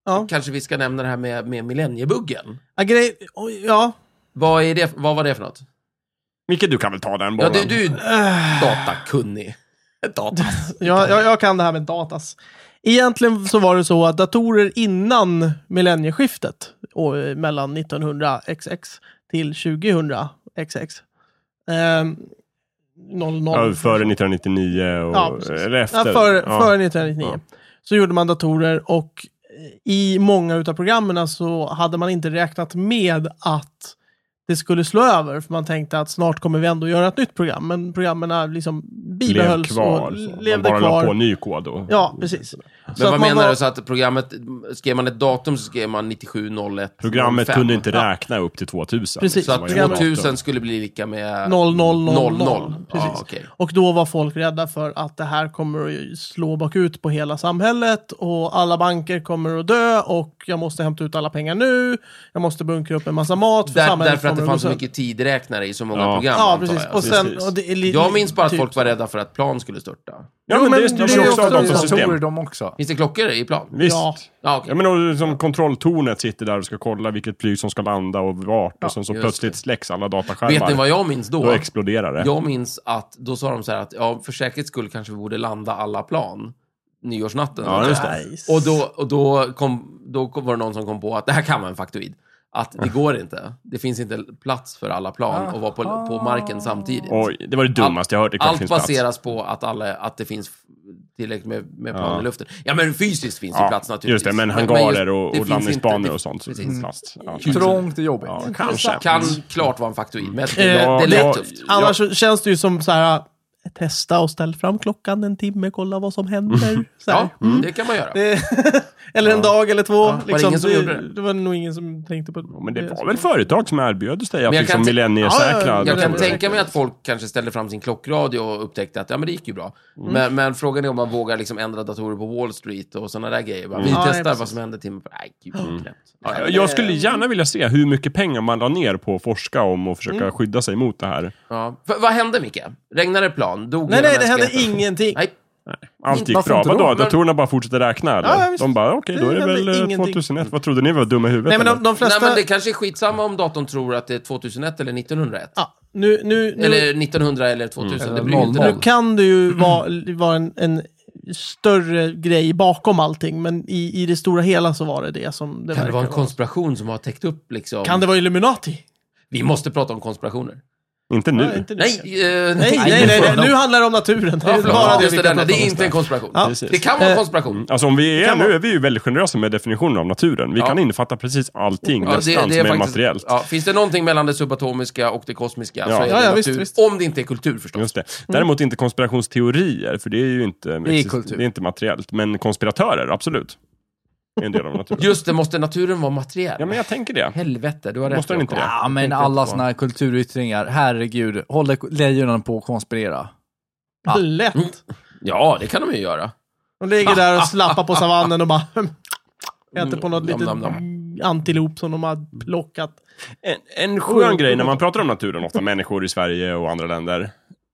A: Ja.
B: kanske vi ska nämna det här med, med millenniebuggen.
A: ja, grej, oj, ja.
B: Vad, är det, vad var det för något?
C: Micke, du kan väl ta den
B: Ja,
C: bollen?
B: du, du är ju
A: Äh,
B: datakunnig. Data.
A: jag, jag, jag kan det här med datas. Egentligen så var det så att datorer innan millennieskiftet, och, eh, mellan 1900XX till 2000XX, ehm, 00.
C: Ja, före 1999 och...
A: Ja, precis.
C: eller efter.
A: Ja, före,
C: Ja.
A: före 1999. Så gjorde man datorer och i många utav programmen så hade man inte räknat med att det skulle slå över. För man tänkte att snart kommer vi ändå göra ett nytt program. Men programmen liksom
C: Blev
A: bibehölls
C: kvar.
A: och
C: så. Man
A: levde
C: bara la på
A: kvar.
C: ny kod och...
A: Ja, precis.
B: Men vad
A: man
B: menar
A: var-
B: du? Så att programmet, skrev man ett datum så skrev man 9701
C: Programmet kunde inte räkna upp till 2000.
A: Precis.
B: Så
C: liksom,
B: att
C: vad jag vet.
B: 2000 skulle bli lika med
A: 0000.
B: 00.
A: Precis.
B: Ja, okej.
A: Och då var folk rädda för att det här kommer att ju slå bakut på hela samhället och alla banker kommer att dö och jag måste hämta ut alla pengar nu. Jag måste bunkra upp en massa mat för
B: Där,
A: samhället
B: därför att det fanns så
A: 100%.
B: mycket tidräknare i så många
C: Ja.
B: program.
A: Ja,
B: antar
A: precis.
B: jag.
A: Och sen,
C: Precis.
A: och det är li-
B: jag minns bara att
A: typ.
B: folk var rädda för att plan skulle störta.
C: Ja,
A: Jo,
C: men,
A: men
C: det styrs
A: det är
C: ju också av
A: också
C: dem som
A: datorer.
C: system.
D: Datorer de också.
B: Finns det klockor i plan?
C: Visst.
A: Ja.
B: Ja, okej.
C: Ja, men och, som kontrolltornet sitter där och ska kolla vilket flyg som ska landa och vart.
A: Ja,
C: och sen så
B: just
C: plötsligt
B: det.
C: släcks alla dataskärmar.
B: Vet ni vad jag minns då?
C: Då exploderar det.
B: Jag minns att då sa de så här att ja, för säkerhets skull kanske vi borde landa alla plan nyårsnatten.
C: Ja, just det.
A: Nice.
B: Och, då, och då, kom, då kom- var det någon som kom på att det här kan vara en faktoid. Att det går inte. Det finns inte plats för alla
A: Ah,
B: plan och vara på, på marken samtidigt.
C: Oj, det var det dummaste jag hört. Det klart
B: Allt
C: finns plats.
B: baseras på att, alla, att det finns tillräckligt med, med plan i luften. Ja, men fysiskt finns ju
C: Ja,
B: plats naturligtvis.
C: Just det, men
B: just-
C: hangarer
B: det
C: och, och
B: finns inte-
C: landningsbanor
B: det-
C: och sånt. Så
B: Precis. Mm.
C: plats. Ja,
D: Trångt och jobbigt.
C: ja, kanske.
B: Kan klart vara en faktoid, men det,
A: Eh,
B: det, det lät
C: Mm. ja.
B: tufft.
A: Annars så känns det ju som så här, testa och ställ fram klockan en timme, kolla vad som händer. Så här.
B: Mm. Ja,
C: Mm.
B: det kan man göra.
A: Det, eller en dag eller två.
B: det
A: liksom.
B: ingen som
A: det,
B: gjorde det?
A: det var nog ingen som tänkte på
C: Ja, Men det var väl företag som erbjöd sig att
B: jag
C: liksom
B: kan-
C: millenniesäkra
A: Ja, ja, ja,
B: Jag kan
A: det-
C: datorer.
B: tänka mig att folk kanske ställde fram sin klockradio och upptäckte att ja, men det gick ju bra.
C: Mm.
B: Men, men frågan är om man vågar liksom ändra datorer på Wall Street och sådana där grejer.
C: Mm.
B: Bara, vi
A: Ja, nej,
B: testar vad
A: precis.
B: som händer timme... Nej, gud, mm. ja,
C: Jag- Jag skulle gärna vilja se hur mycket pengar man la ner på att forska om och
B: Mm.
C: försöka skydda sig mot det här.
B: ja. Va- Vad hände, Micke? Regnade det plan? Dog
A: Nej,
B: hela
A: nej, det hände
B: mänskligheten?
A: ingenting.
B: Nej,
C: Allt gick
D: Varför
C: bra.
D: inte då?
C: Vadå?
D: Men-
C: Datorerna bara fortsätter räkna eller?
A: Ja, ja, visst.
C: de bara, okej, då
A: Det
C: är det väl
A: hände
C: eh,
A: ingenting.
C: 2001. Vad trodde ni? Vi var dumma i huvudet?
A: Nej, men
C: eller?
A: de, de
B: nej,
A: flesta...
B: men det kanske är skitsamma om datorn tror att det är 2001 eller 1901.
A: ja, nu, nu, nu,
B: Eller Mm. 1900 eller 2000.
A: Mm.
B: Det bryr ju inte
D: Eller
A: nu
B: någon.
A: kan det ju vara, vara en, en större grej bakom allting, men i, i det stora hela så var det det som det
B: Kan det
A: verkar
B: vara en konspiration som har täckt upp liksom...
A: Kan det vara Illuminati?
B: Vi måste prata om konspirationer.
C: Inte nu.
A: Ja, inte nu.
B: Nej,
A: nej,
B: eh,
A: nej, nej, nej, nu handlar det om naturen. Det
B: Ja,
A: är
B: förlåt.
A: bara det
B: Just
A: vi
B: det,
A: kan
B: den, det
A: prata
B: är
A: om.
B: inte en konspiration.
A: Ja.
C: Precis.
B: Det kan vara en
A: Eh,
B: konspiration.
C: Alltså om vi är,
A: Kan
C: nu
A: vara.
C: är vi ju väldigt generösa med definitionen av naturen. Vi
B: Ja.
C: kan innefatta precis allting
B: Ja,
C: nästan som är materiellt.
B: ja, finns det någonting mellan det subatomiska och det kosmiska så
C: Ja.
B: är det
A: Ja, ja,
B: natur.
A: visst, visst.
B: Om det inte är kultur förstås.
C: Just det. Däremot inte konspirationsteorier, för det är ju inte,
D: är kultur.
C: det är inte materiellt. Men konspiratörer, absolut. Är en del av naturen.
B: Just det, måste naturen vara materiell?
C: Ja, men jag tänker det.
B: Helvete, du har rätt.
C: Måste den inte
B: Jakob.
C: det?
D: Ja, men
B: tänkte
D: alla
B: inte på.
D: såna här kulturyttringar. Herregud, håller lejonen på att konspirera?
B: Ah.
D: Ja.
A: Lätt.
B: Mm. Ja, det kan de ju göra.
A: Mm. De ligger där
B: Ah.
A: och slappar på savannen och bara äter på något
B: Nom,
A: litet
B: Mm, nom, nom.
A: antilop som de har plockat.
C: En, en skön grej när man pratar om naturen, ofta människor i Sverige och andra länder,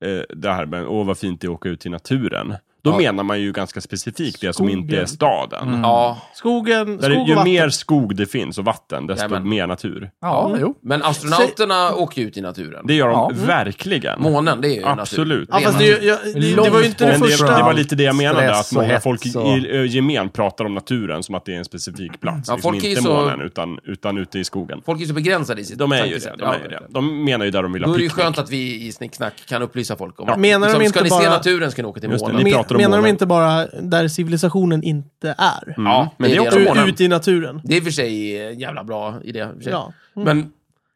C: eh, det här med åh vad fint det är att åka ut i naturen. Då
B: Ja.
C: menar man ju ganska specifikt det som
A: Skogen.
C: inte är staden.
B: Ja,
A: Skogen,
C: Där det,
A: skog och
C: ju
A: vatten.
C: mer skog det finns och vatten, desto
B: Jajamän.
C: mer natur.
D: Ja, jo.
B: men astronauterna åker ju ut i naturen.
C: Det gör de
D: Ja.
C: verkligen.
B: Månen, det är ju natur.
C: Absolut.
A: Mm. Ja, fast det, är ju- jag, det, det var ju inte det
C: Men det,
A: första.
C: det var lite det jag menade,
D: Stress
C: att
D: och
C: många
D: hets
C: folk i,
D: och-
C: i, gemen pratar om naturen som att det är en specifik plats.
B: Ja,
C: liksom
B: folk är ju
C: inte
B: så-
C: månen, utan, utan ute i skogen.
B: Folk är ju så begränsade i sitt
C: De är ju det.
B: tankesätt.
C: De, är ju det. de menar ju där de vill
B: Då
C: ha
B: är det ju
C: picknick.
B: skönt att vi i Snicksnack kan upplysa folk om att
A: Menar de
B: ska
A: inte
B: ni se
A: bara-
B: naturen ska ni åka till
C: Just det,
B: månen.
C: ni
A: Men-
C: pratar om Mm.
A: menar de
C: månen.
A: inte bara där civilisationen inte är?
B: Ja, det
C: men det
B: är
C: är
B: det
C: också
B: de
A: Du
B: månen.
A: är ute i naturen.
B: Det är i och för sig en jävla bra idé. i och för sig.
A: Ja. Mm.
B: Men,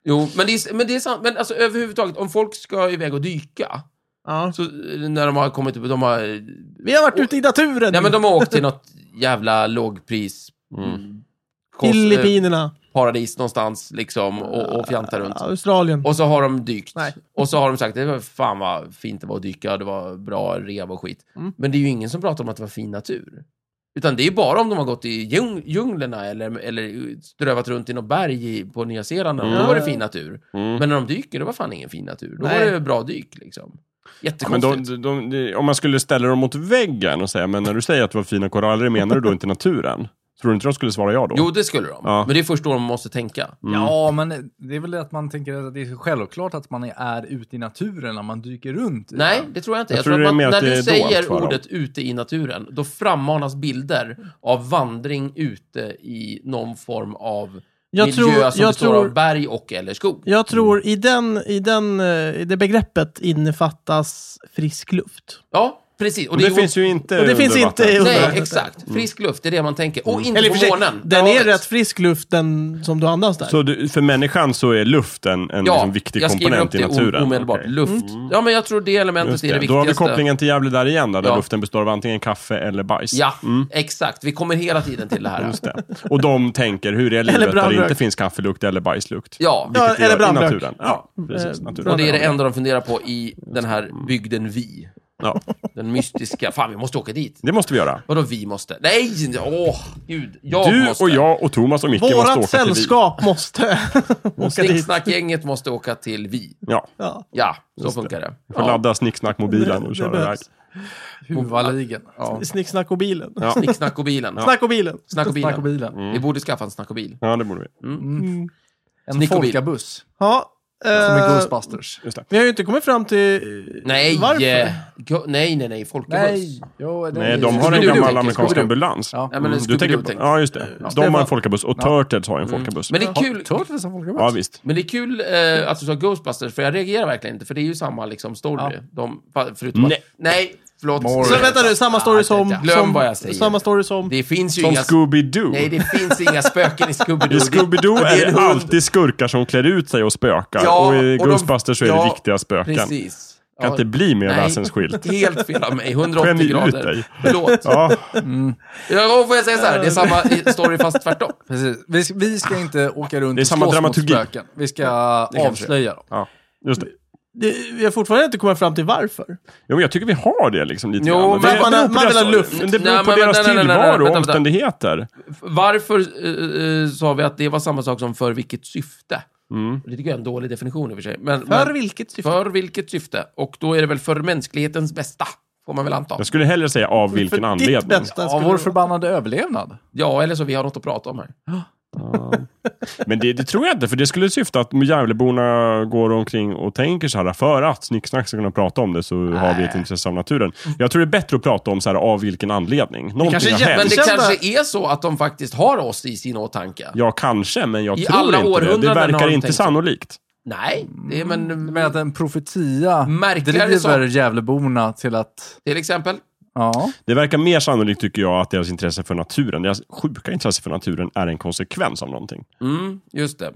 B: jo, men det är, men det är sant. Men alltså överhuvudtaget, om folk ska iväg och dyka,
A: Ja.
B: så eh, när de har kommit upp, de har... eh,
A: Vi har varit ute i naturen!
B: Nej, men de har åkt till något jävla lågpris... Mm. kos- eh,
A: Filippinerna,
B: paradis någonstans liksom och, och fjantar runt.
A: Australien.
B: Och så har de dykt.
A: Nej.
B: Och så har de sagt, det var fan vad fint det var att dyka, det var bra rev och skit.
A: Mm.
B: Men det är ju ingen som pratar om att det var fin natur. Utan det är ju bara om de har gått i djung djunglerna eller, eller strövat runt i något berg i- på Nya Zeeland. Då var det fin natur.
C: Mm.
B: Men när de dyker, då var fan ingen fin natur. Då
A: Nej.
B: var det bra dyk liksom.
C: Ja, Men
B: Jättekonstigt.
C: de, de, de, om man skulle ställa dem mot väggen och säga, men när du säger att det var fina koraller, menar du då inte naturen? Tror du inte de skulle svara ja då?
B: Jo, det skulle de.
C: Ja.
B: Men det är först då de måste tänka.
C: Mm.
D: Ja, men det är väl det att man tänker att det är självklart att man är ute i naturen när man dyker runt.
B: Nej, det tror jag inte.
C: Jag
B: Jag,
C: tror
B: tror
C: det är
B: att
C: mer
B: man,
C: att
B: när
C: det är
B: du
C: dolt
B: säger
C: för dem.
B: ordet ute i naturen, då frammanas bilder av vandring ute i någon form av
A: Jag
B: miljö
A: tror-
B: som
A: jag
B: består
A: tror-
B: av berg och eller skog.
A: Jag tror i, den, i, den, eh, i det begreppet innefattas frisk luft.
B: Ja, precis. Och
C: det,
B: är-
C: finns ju Mm. inte
A: och det
C: under
A: finns inte
C: vatten.
A: under-
B: Nej, exakt. Frisk luft, det är det man tänker.
C: Mm.
B: Och inte
A: Eller i och
B: på
A: för sig,
B: månen.
A: den är
B: Havet.
A: rätt frisk luft den som du andas där.
C: Så du, för människan så är luft en, en liksom viktig
B: jag skriver upp
C: komponent i
B: det o-
C: naturen?
B: omedelbart.
C: Okej. Mm.
B: Luft. Ja, men jag tror det elementet
C: Just
B: är det
C: det. Då har vi
B: viktigaste.
C: kopplingen till Gävle där igen, där, där
B: Ja.
C: luften består av antingen kaffe eller bajs.
B: Ja, exakt. Vi kommer hela tiden till det här.
C: Mm. Just det. Och de tänker, hur är livet där det
A: brandrök.
C: inte finns kaffelukt eller bajslukt?
B: Ja.
C: Vilket
A: Ja,
C: det
A: eller
C: gör i
A: brandrök.
C: naturen. Ja, Mm. precis.
A: Eh,
C: Naturen.
B: Och det är det enda de funderar på i den här bygden vi.
C: Ja,
B: Den mystiska. Fan, vi måste åka dit.
C: det måste vi göra.
B: Vadå vi måste? Nej! Åh, gud. Jag
C: Du
B: måste.
C: och jag och Thomas och Micke måste
A: Vårat
C: åka till Vi.
A: sällskap måste åka dit.
B: Snicksnackgänget måste åka till vi.
C: Ja,
A: Ja.
B: Ja, så
C: Just det.
B: funkar det.
C: vi får ladda snicksnackmobilen
A: Det-
C: och
A: det
C: köra iväg.
A: behövs.
D: Huvudligen.
B: Ja.
A: Snicksnack och bilen.
C: Ja.
B: Snicksnack och bilen.
A: Snack och bilen.
B: Snack och
D: Snack och
B: bilen.
D: bilen.
B: Vi borde skaffa en snack och bil.
C: Ja, det borde vi.
D: En
B: Snick och bil.
D: folkabuss.
A: Ja.
D: Som
A: eh,
D: är Ghostbusters.
C: Just det.
A: vi har ju inte kommit fram till eh,
B: Nej,
A: varför.
B: eh, go- nej, nej, nej, folkabuss.
D: Nej, jo, det
C: Nej,
D: är-
C: de har en
B: Scooby-Doo
C: gammal
B: tänker,
C: amerikansk
B: Scooby-Doo.
C: ambulans.
D: Ja.
B: Nej, men en
C: du tänker
B: Scooby-Doo tänker jag.
C: Ja, just det. De har en
A: Stefan.
C: folkabuss och Turtles har en folkabuss.
B: Mm. Men det är kul.
D: Turtles har folkabuss.
C: Ja, visst.
B: Men det är kul eh, att du sa Ghostbusters, för jag reagerar verkligen inte, för det är ju samma liksom, story.
D: Ja.
B: De, fa- förutom
C: Nej.
B: Att, nej, förlåt.
D: Morgon.
A: Så vänta nu, samma story som...
B: Glöm
A: som,
B: vad jag säger.
A: Samma story som...
B: Det finns ju
C: Som
B: inga... alltså- Nej,
C: Scooby-Doo.
B: det finns inga spöken i
C: I
B: Scooby-Doo.
C: Scooby-Doo
B: Det- det
C: är
B: en
C: det
B: hund.
C: alltid skurkar som klär ut sig och spökar.
B: Ja,
C: och i
B: och de-
C: Ghostbusters så är det
B: ja,
C: riktiga spöken.
B: Precis.
C: Kan inte bli mer
B: Nej.
C: väsensskilt.
B: Helt fel av mig, 180
C: Skämmer ut
B: grader.
C: dig.
B: Förlåt.
C: Ja,
B: Ja, då får jag säga så här, det är samma i- story fast tvärtom.
D: Precis. Vi, ska- vi ska inte åka runt
C: Det är
D: och
C: samma
D: slåss
C: dramaturgi.
D: mot spöken. Vi ska
B: kanske
D: avslöja dem.
C: ja, just det.
A: Det, vi har fortfarande inte kommit fram till varför.
C: Jo, men jag tycker vi har det liksom lite
B: Jo,
C: grann.
B: men
C: Det-
B: man-
C: det beror på
A: man vill ha
C: deras-
A: luft.
C: men Det beror
B: Nej,
C: på
B: men
C: deras
B: vänta, nej, nej, nej,
C: tillvaro och
B: vänta, vänta.
C: omständigheter.
B: Varför eh, eh, sa vi att det var samma sak som för vilket syfte? Det tycker jag är en dålig definition i och för sig. Men,
A: För
B: men,
A: vilket syfte?
B: för vilket syfte? Och då är det väl för mänsklighetens bästa, får man väl anta.
C: Jag skulle hellre säga av vilken
A: för Ditt
C: anledning.
A: bästa
D: Av
A: skulle
D: vår
A: det vara.
D: förbannade överlevnad.
B: Ja, eller så vi har något att prata om här.
C: Men det, det tror jag inte, för det skulle syfta att Gävleborna går omkring och tänker så här, för att Snicksnack ska kunna prata om det så har vi ett intresse av naturen. Jag tror det är bättre att prata om så här, av vilken anledning. Någonting
A: kanske
C: har
A: är
C: hänt.
B: Men det
A: Kända-
B: kanske är så att de faktiskt har oss i sin åtanke.
C: Ja, kanske, men jag
B: I
C: tror
B: alla
C: inte det. Det
B: århundraden har
C: verkar
B: de
C: inte
B: tänkt så.
C: sannolikt.
B: Nej, det är, men,
D: Men att en profetia
B: Märkligare
D: driver
B: sak.
D: Gävleborna till att...
B: till exempel.
D: Ja.
C: Det verkar mer sannolikt, tycker jag, att deras intresse för naturen, deras sjuka intresse för naturen, är en konsekvens av någonting.
B: Mm, just det.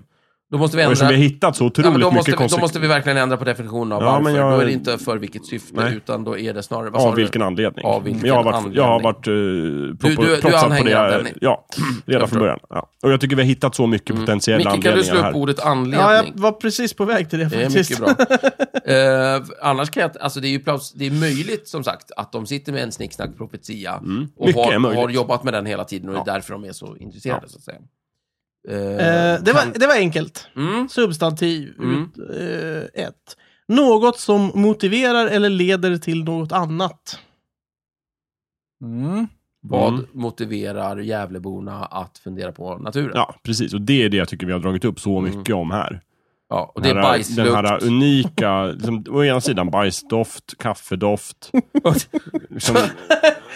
B: Då måste vi
C: Och
B: ändra...
C: eftersom vi har hittat så
B: Ja, men
C: otroligt
B: då, måste
C: mycket
B: vi, då måste
C: konsekvenser.
B: vi verkligen ändra på definitionen av
C: Ja,
B: varför.
C: men jag-
B: Då är det inte för vilket syfte,
C: Nej.
B: utan då är det snarare... vad sa
C: Av
B: du?
C: vilken anledning?
B: Av vilken
C: jag har varit, Jag har
B: anledning?
C: varit uh, propo,
B: du är
C: proffsad på
B: anhängare av
C: det.
B: den.
C: Ja, redan
B: Jag
C: från
B: förstår. Mm.
C: början. Ja. Och jag tycker vi har hittat så mycket potentiella
B: Micke, kan du slå
C: anledningar
B: upp
C: här.
B: ordet
A: Ja, jag
B: anledning?
A: var precis på väg till det
B: det är
A: faktiskt.
B: mycket bra. Eh, annars kan jag... Alltså, det är ju plaus, det är möjligt, som sagt, att de sitter med en snicksnack-profetia och
C: Mm. Mycket är
B: har,
C: möjligt.
B: har jobbat med den hela tiden och det är därför de är så intresserade, så att säga. Eh,
A: Eh, det, var, det var enkelt.
B: Mm.
A: Substantiv 1. något som motiverar eller leder till något annat.
D: Mm.
B: Vad
C: Mm.
B: motiverar Gävleborna att fundera på naturen? Ja.
C: Ja, precis. Och det är det jag tycker vi har dragit upp så mycket om här.
B: Mm. och det är
C: Den här- Den
B: bajslukt.
C: här unika, liksom, å ena sidan bajsdoft, kaffedoft. liksom,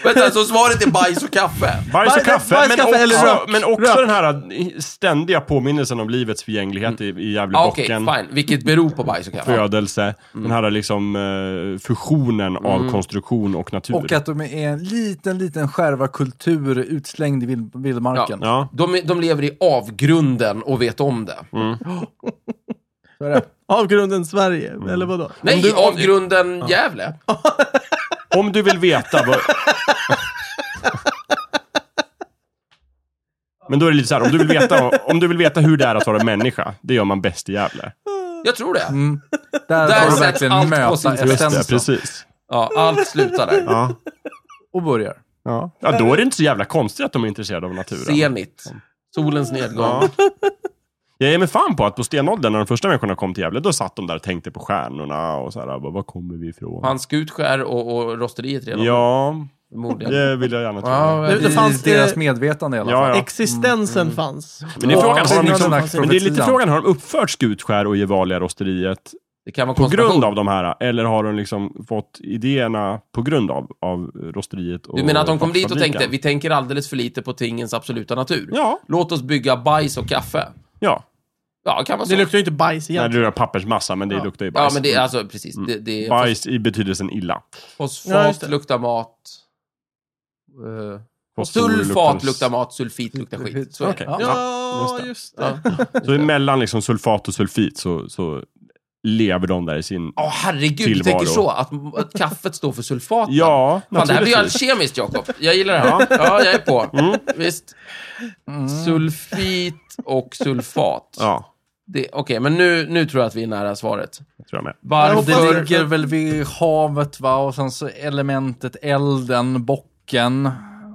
B: Vänta, så svaret är bajs och kaffe?
C: bajs
A: Bajs-
C: och kaffe,
A: bajs,
C: men,
A: kaffe eller
C: också,
A: rök.
C: men också
A: Rök.
C: den här ständiga påminnelsen om livets förgänglighet i, i
B: Mm. Ja, Ah, Okej,
C: Gävlebocken.
B: fine. Mm. Vilket beror på bajs och kaffe?
C: födelse, den här liksom eh, fusionen av
B: Mm.
C: konstruktion och natur.
D: Och att de är en liten, liten skärva kultur utslängd i vill- vildmarken.
C: Ja,
B: De, de lever i avgrunden och vet om det.
C: Mm.
D: Så är det.
A: Avgrunden Sverige, eller vadå?
B: Nej, avgrunden Gävle.
C: om du vill veta vad... Men då är det lite så här, om du, vill veta, om du vill veta hur det är att vara människa, det gör man bäst i Gävle.
B: Jag tror det.
D: Mm. Där,
B: Där
D: får du
B: sätts allt
D: verkligen
B: på sin
D: möta
B: spets.
C: Just det,
D: essensen.
C: precis.
B: Ja, allt slutar där.
C: Ja.
D: Och börjar.
C: Ja. ja, då är det inte så jävla konstigt att de är intresserade av naturen.
B: Zenit. Solens nedgång.
C: Ja. Jag ger mig fan på att på stenåldern, när de första människorna kom till Gävle, då satt de där och tänkte på stjärnorna och så här, var, var kommer vi ifrån?
B: Hans skutskär och, och rosteriet redan.
C: Ja,
B: Förmodligen.
C: det vill jag gärna tro.
B: Ja,
A: Det- det
D: I
A: fanns,
D: deras
A: eh,
D: medvetande i alla fall.
C: Ja, Mm, ja.
A: Existensen fanns.
C: Men det är
D: Ja,
C: frågan, har de liksom,
D: Snicksnack
C: men det är lite
D: profetian.
C: frågan, har de uppfört Skutskär och Gevalia-rosteriet
B: det kan vara
C: på grund
B: konspiration.
C: av de här? Eller har de liksom fått idéerna på grund av, av rosteriet? Och
B: Du menar att de kom dit och
C: fabriken?
B: tänkte, vi tänker alldeles för lite på tingens absoluta natur.
C: Ja,
B: Låt oss bygga bajs och kaffe.
C: ja.
B: Ja, det kan vara så.
A: Det luktar ju inte bajs
C: Nej,
A: egentligen.
C: det är pappersmassa, men det luktar ju bajs.
B: Ja, men det är alltså precis. Det, det är
C: Bajs i betydelsen illa.
B: fosfat
A: Ja, just det.
B: luktar mat. Eh,
C: Fosfor
B: sulfat
C: luktar-
B: luktar mat, sulfit luktar skit. Så är det.
D: Okej. Ja.
A: Ja,
C: just det.
A: just det.
B: Ja.
C: Så emellan liksom sulfat och sulfit så, så lever de där i sin...
B: Ja, herregud, du
C: Tillvaro.
B: tänker så? Att, att kaffet står för sulfaten?
C: Ja,
B: Fan, det här blir ju alltså-
C: naturligtvis. Mm.
B: alkemiskt, Jakob. Jag gillar det här. Ja, jag är på. Visst. Sulfit och sulfat.
C: Ja.
B: det- Okej, men nu, nu tror jag att vi är nära svaret.
C: tror jag med.
D: Det
B: Varför...
D: ligger väl vid havet va, och sen så elementet elden, bocken.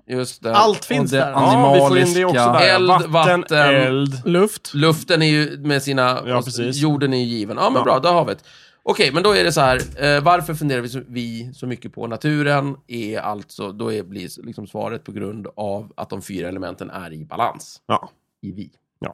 B: Just det.
A: Allt finns
D: det-
A: där.
D: ja. Animaliska.
B: Eld, vatten.
C: eld.
A: Luft.
B: Luften är ju med sina... alltså,
C: Ja, precis.
B: Jorden är ju given. Ja, men
C: Ja.
B: bra, där har vi det. Okej, men då är det så här. Eh, varför funderar vi så, vi så mycket på naturen? Är alltså, då är, blir liksom svaret på grund av att de fyra elementen är i balans.
C: Ja.
B: I vi.
C: Ja.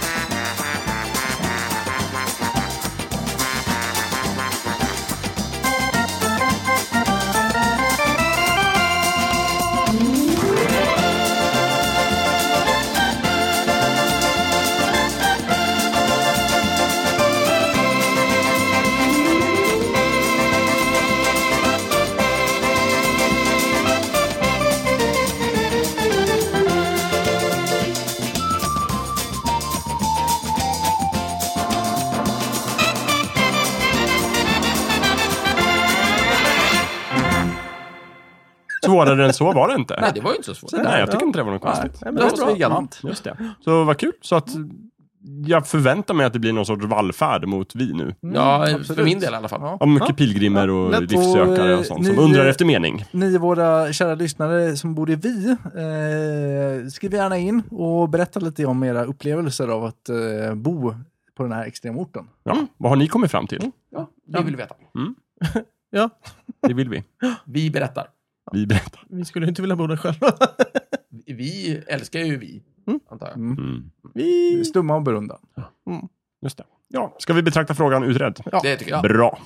C: Svårare än så var det inte.
B: Nej, det var ju inte så svårt.
C: Nej, jag tycker inte det var något konstigt.
A: Nej, men
B: Det
A: det är
B: var
A: bra.
B: galant.
C: Just det. Så vad kul. Så att jag förväntar mig att det blir någon sorts vallfärd mot vi nu.
B: Ja, för
D: absolut.
B: min del i alla fall.
D: Ja.
C: Mm, Ja, mycket pilgrimer och
A: Ja, lätt.
C: livssökare och sånt som
D: Och, eh,
C: undrar
D: ni-
C: efter mening.
D: Ni våra kära lyssnare som bor i Vi, eh, skriv gärna in och berätta lite om era upplevelser av att eh, bo på den här extremorten.
C: Ja, vad har ni kommit fram till?
B: Ja, vi vill veta.
A: Ja,
C: Det vill vi.
B: Vi berättar.
C: Vi berättar.
A: vi skulle inte vilja bo där själva.
B: Vi älskar ju vi, antar jag.
C: Mm.
A: Vi...
D: Stumma och berunda.
C: Just det. Ja, ska vi betrakta frågan utredd?
B: Det tycker jag.
C: Bra.